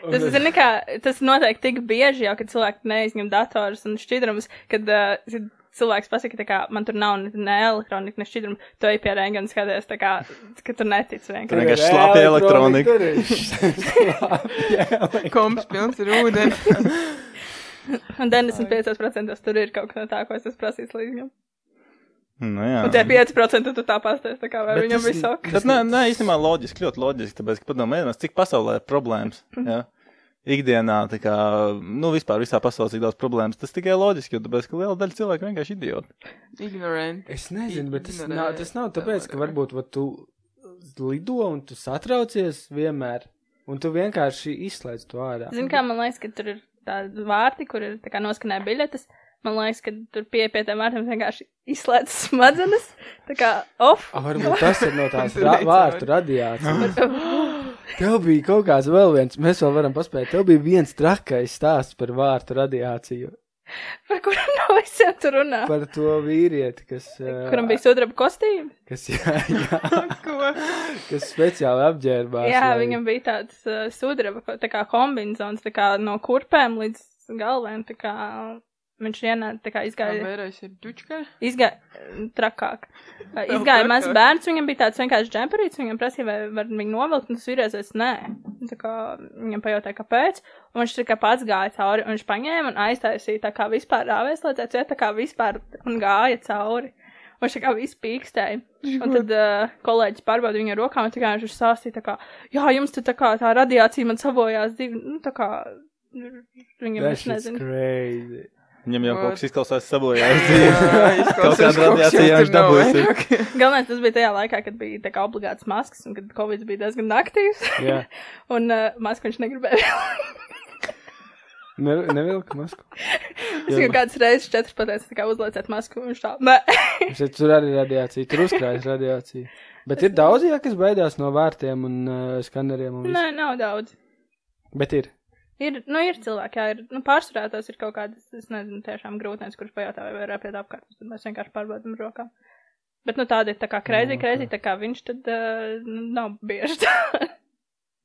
Tas, zini, kā, tas notiek tik bieži jau, kad cilvēki neizņem datorus un šķidrumus, kad uh, zin, cilvēks pasaka, ka man tur nav ne, ne elektronika, ne šķidrumu, to ir pie rēnga un skaties, tā kā, ka tur netic Tur vienkārši. vienkārši slāpja elektronika. [LAUGHS] Komps pilns ar ūdeni. Un 95% tur ir kaut kas no tā, ko es esmu prasījis līdz viņam. Nu, jā. Un tie 5% tu tā pastāsti, tā kā vai Bet viņam tas- viss ok. Bet, nē, nē, īstenībā loģiski, ļoti loģiski, tāpēc, ka padomājiet, cik pasaulē ir problēmas. Ja? Ikdienā, tā kā, nu, vispār visā pasaulē ir daudz problēmas. Tas tikai loģiski, jo tāpēc, ka liela daļa cilvēku vienkārši idioti. Ignorant. Es nezinu, bet tas Ignorē nav, tas nav tāpēc, ka varbūt vat, tu lido un tu satraucies vienmēr, un tu vienkārši izslēdz to ārā. Zini, kā man liekas, ka tur ir tādi vārti, kur ir tā kā noskanē biļetes. Man liekas, ka tur pie pie tiem vārtiem vienkārši izslēdz smadzenes. Tā kā off. A, Ah, varbūt tas ir no tās Tu ra necauri. vārtu radiācijas. Tev bija kaut kāds vēl viens, mēs vēl varam paspēt. Tev bija viens trakais stāsts par vārtu radiāciju. [LAUGHS] Par kuru no visiem tur runā? Par eh, to vīrieti, kas. ā, Kuram bija sudraba kostīme? Kas, jā, jā, Ko? kas speciāli apģērbās. Jā, lai- viņam bija tāds uh, sudraba, ko- tā kā kombinzons, tā kā no kurpēm līdz galvēm, tā kā viņš ienāca, tā kā Kā izgāja, vērēs ir dučka? izgāja trakāk. Uh, Vēl Izgāja trakāk. maz bērns, viņam bija tāds vienkārši džemperīts, viņam prasīja, vai var viņu novilkt, un tas vīriezies, nē. Un Tā kā viņam pajautāja, kāpēc, un viņš tā kā pats gāja cauri, un viņš paņēma un aiztaisīja tā kā vispār rāvēs, lai tāds iet tā kā vispār un gāja cauri. Un Viņš tā kā viss pīkstēja. Un [LAUGHS] tad uh, kolēģis pārbaudīja viņu ar rokām, un tā kā viņš ir sāstīja, tā kā, jā, jums tur tā kā tā radiācija man savojās divi, nu, tā kā, nu, viņam That es shit's nezinu. crazy. Viņam jau Vot. kaut kas izklausās sabojājās dzīvi. Kaut kāda radiācija viņš Galvenais tas bija tajā laikā, kad bija tā kā obligāts maskas, un kad Covid bija diezgan aktīvs, Jā, [LAUGHS] un uh, masku viņš negribēja. Ne, nevilka masku. Es jau kādas reizes četras pateicu, tā kā uzlieciet masku, un viņš tā, nē. Viņš teica, tur arī radiācija, tur uzkrājas radiācija. Bet ir daudz, jā, kas baidās no vārtiem un uh, skaneriem. Un Nē, visu. nav daudz. Bet ir. Ir, nu, ir cilvēki, jā, ir, nu, pārsvarā tās ir kaut kādas, es nezinu, tiešām grūtnes, kurš pajautā, vai var apiet apkārt, un tad mēs vienkārši pārbaudam ar rokām. Bet, nu, tāda ir tā kā kreizi, Jā, kreizi, tā kā viņš tad uh, nav bieži.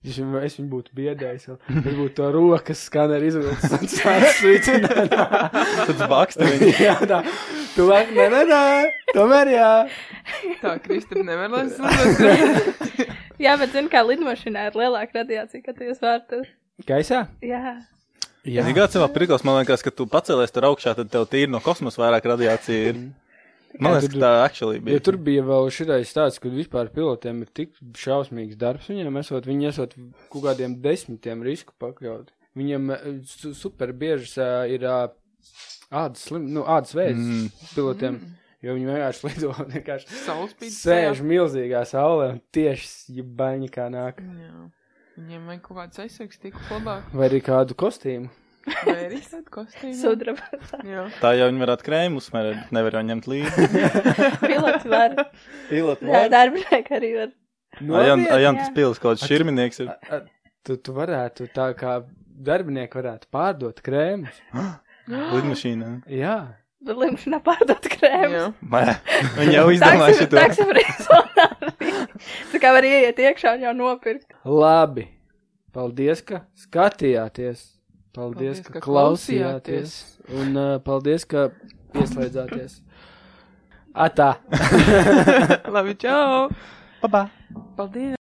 Es viņu, es viņu būtu biedējis. vēl. Viņš būtu to rokas skaneri izvilcis un sācis svicināt. [LAUGHS] Tad baksta viņu. jā, tā. Tu vajag, nē, nē, nē, tomēr jā. Tā, Kristap, nevar lai es lidotu. [LAUGHS] jā, bet, zini, kā lidmašīnā ir lielāka radiācija, kad jūs vārtas. Gaisā? Jā. Ja kāds jau aprīkos, man liekas, ka tu pacēlies tur augšā, tad tev tīri no kosmosa vairāk radiācija ir. Man Mhm. Jā, liekas, tur- ka tā actually Ja bija. tur bija vēl šitais tāds, kur vispār pilotiem ir tik šausmīgs darbs, viņiem esot, viņi esot kaut kādiem desmitiem risku pakļauti. Viņiem eh, su- super bieži uh, ir uh, ādas slim, nu, ādas vēzis Mm. mm. pilotiem, jo viņi vienkārši lido, [LAUGHS] vienkārši Saulspīd. sēž milzīgā saulē un tieši baņi kā nāk. Jā. Viņiem vajag kaut kāds aizsargs, tik labāk. Vai arī kādu kostīmu. Vai arī tādu kostīmu? Sudraba. [LAUGHS] Jā. Tā jau viņi varētu krēmu uzmērēt, bet nevar jau ņemt līdzi. Pilots var. Jā, darbinieki arī var. Nopietni? Ajants jā. Pils, kaut kāds širminieks ir. A- a- Tu, tu varētu tā kā darbinieki varētu pārdot krēmus. Lidmašīnā. Jā. Bet limšanā pārdot krēmu. Jā. Viņa jau izdomāja Taksi, šo te taksi frizonā. [LAUGHS] Tā kā var ieiet iekšā un jau nopirkt. Labi. Paldies, ka skatījāties. Paldies, Paldies, ka ka klausījāties. Un uh, paldies, ka ieslēdzāties. Atā! Labi, čau! pašu. Paldies!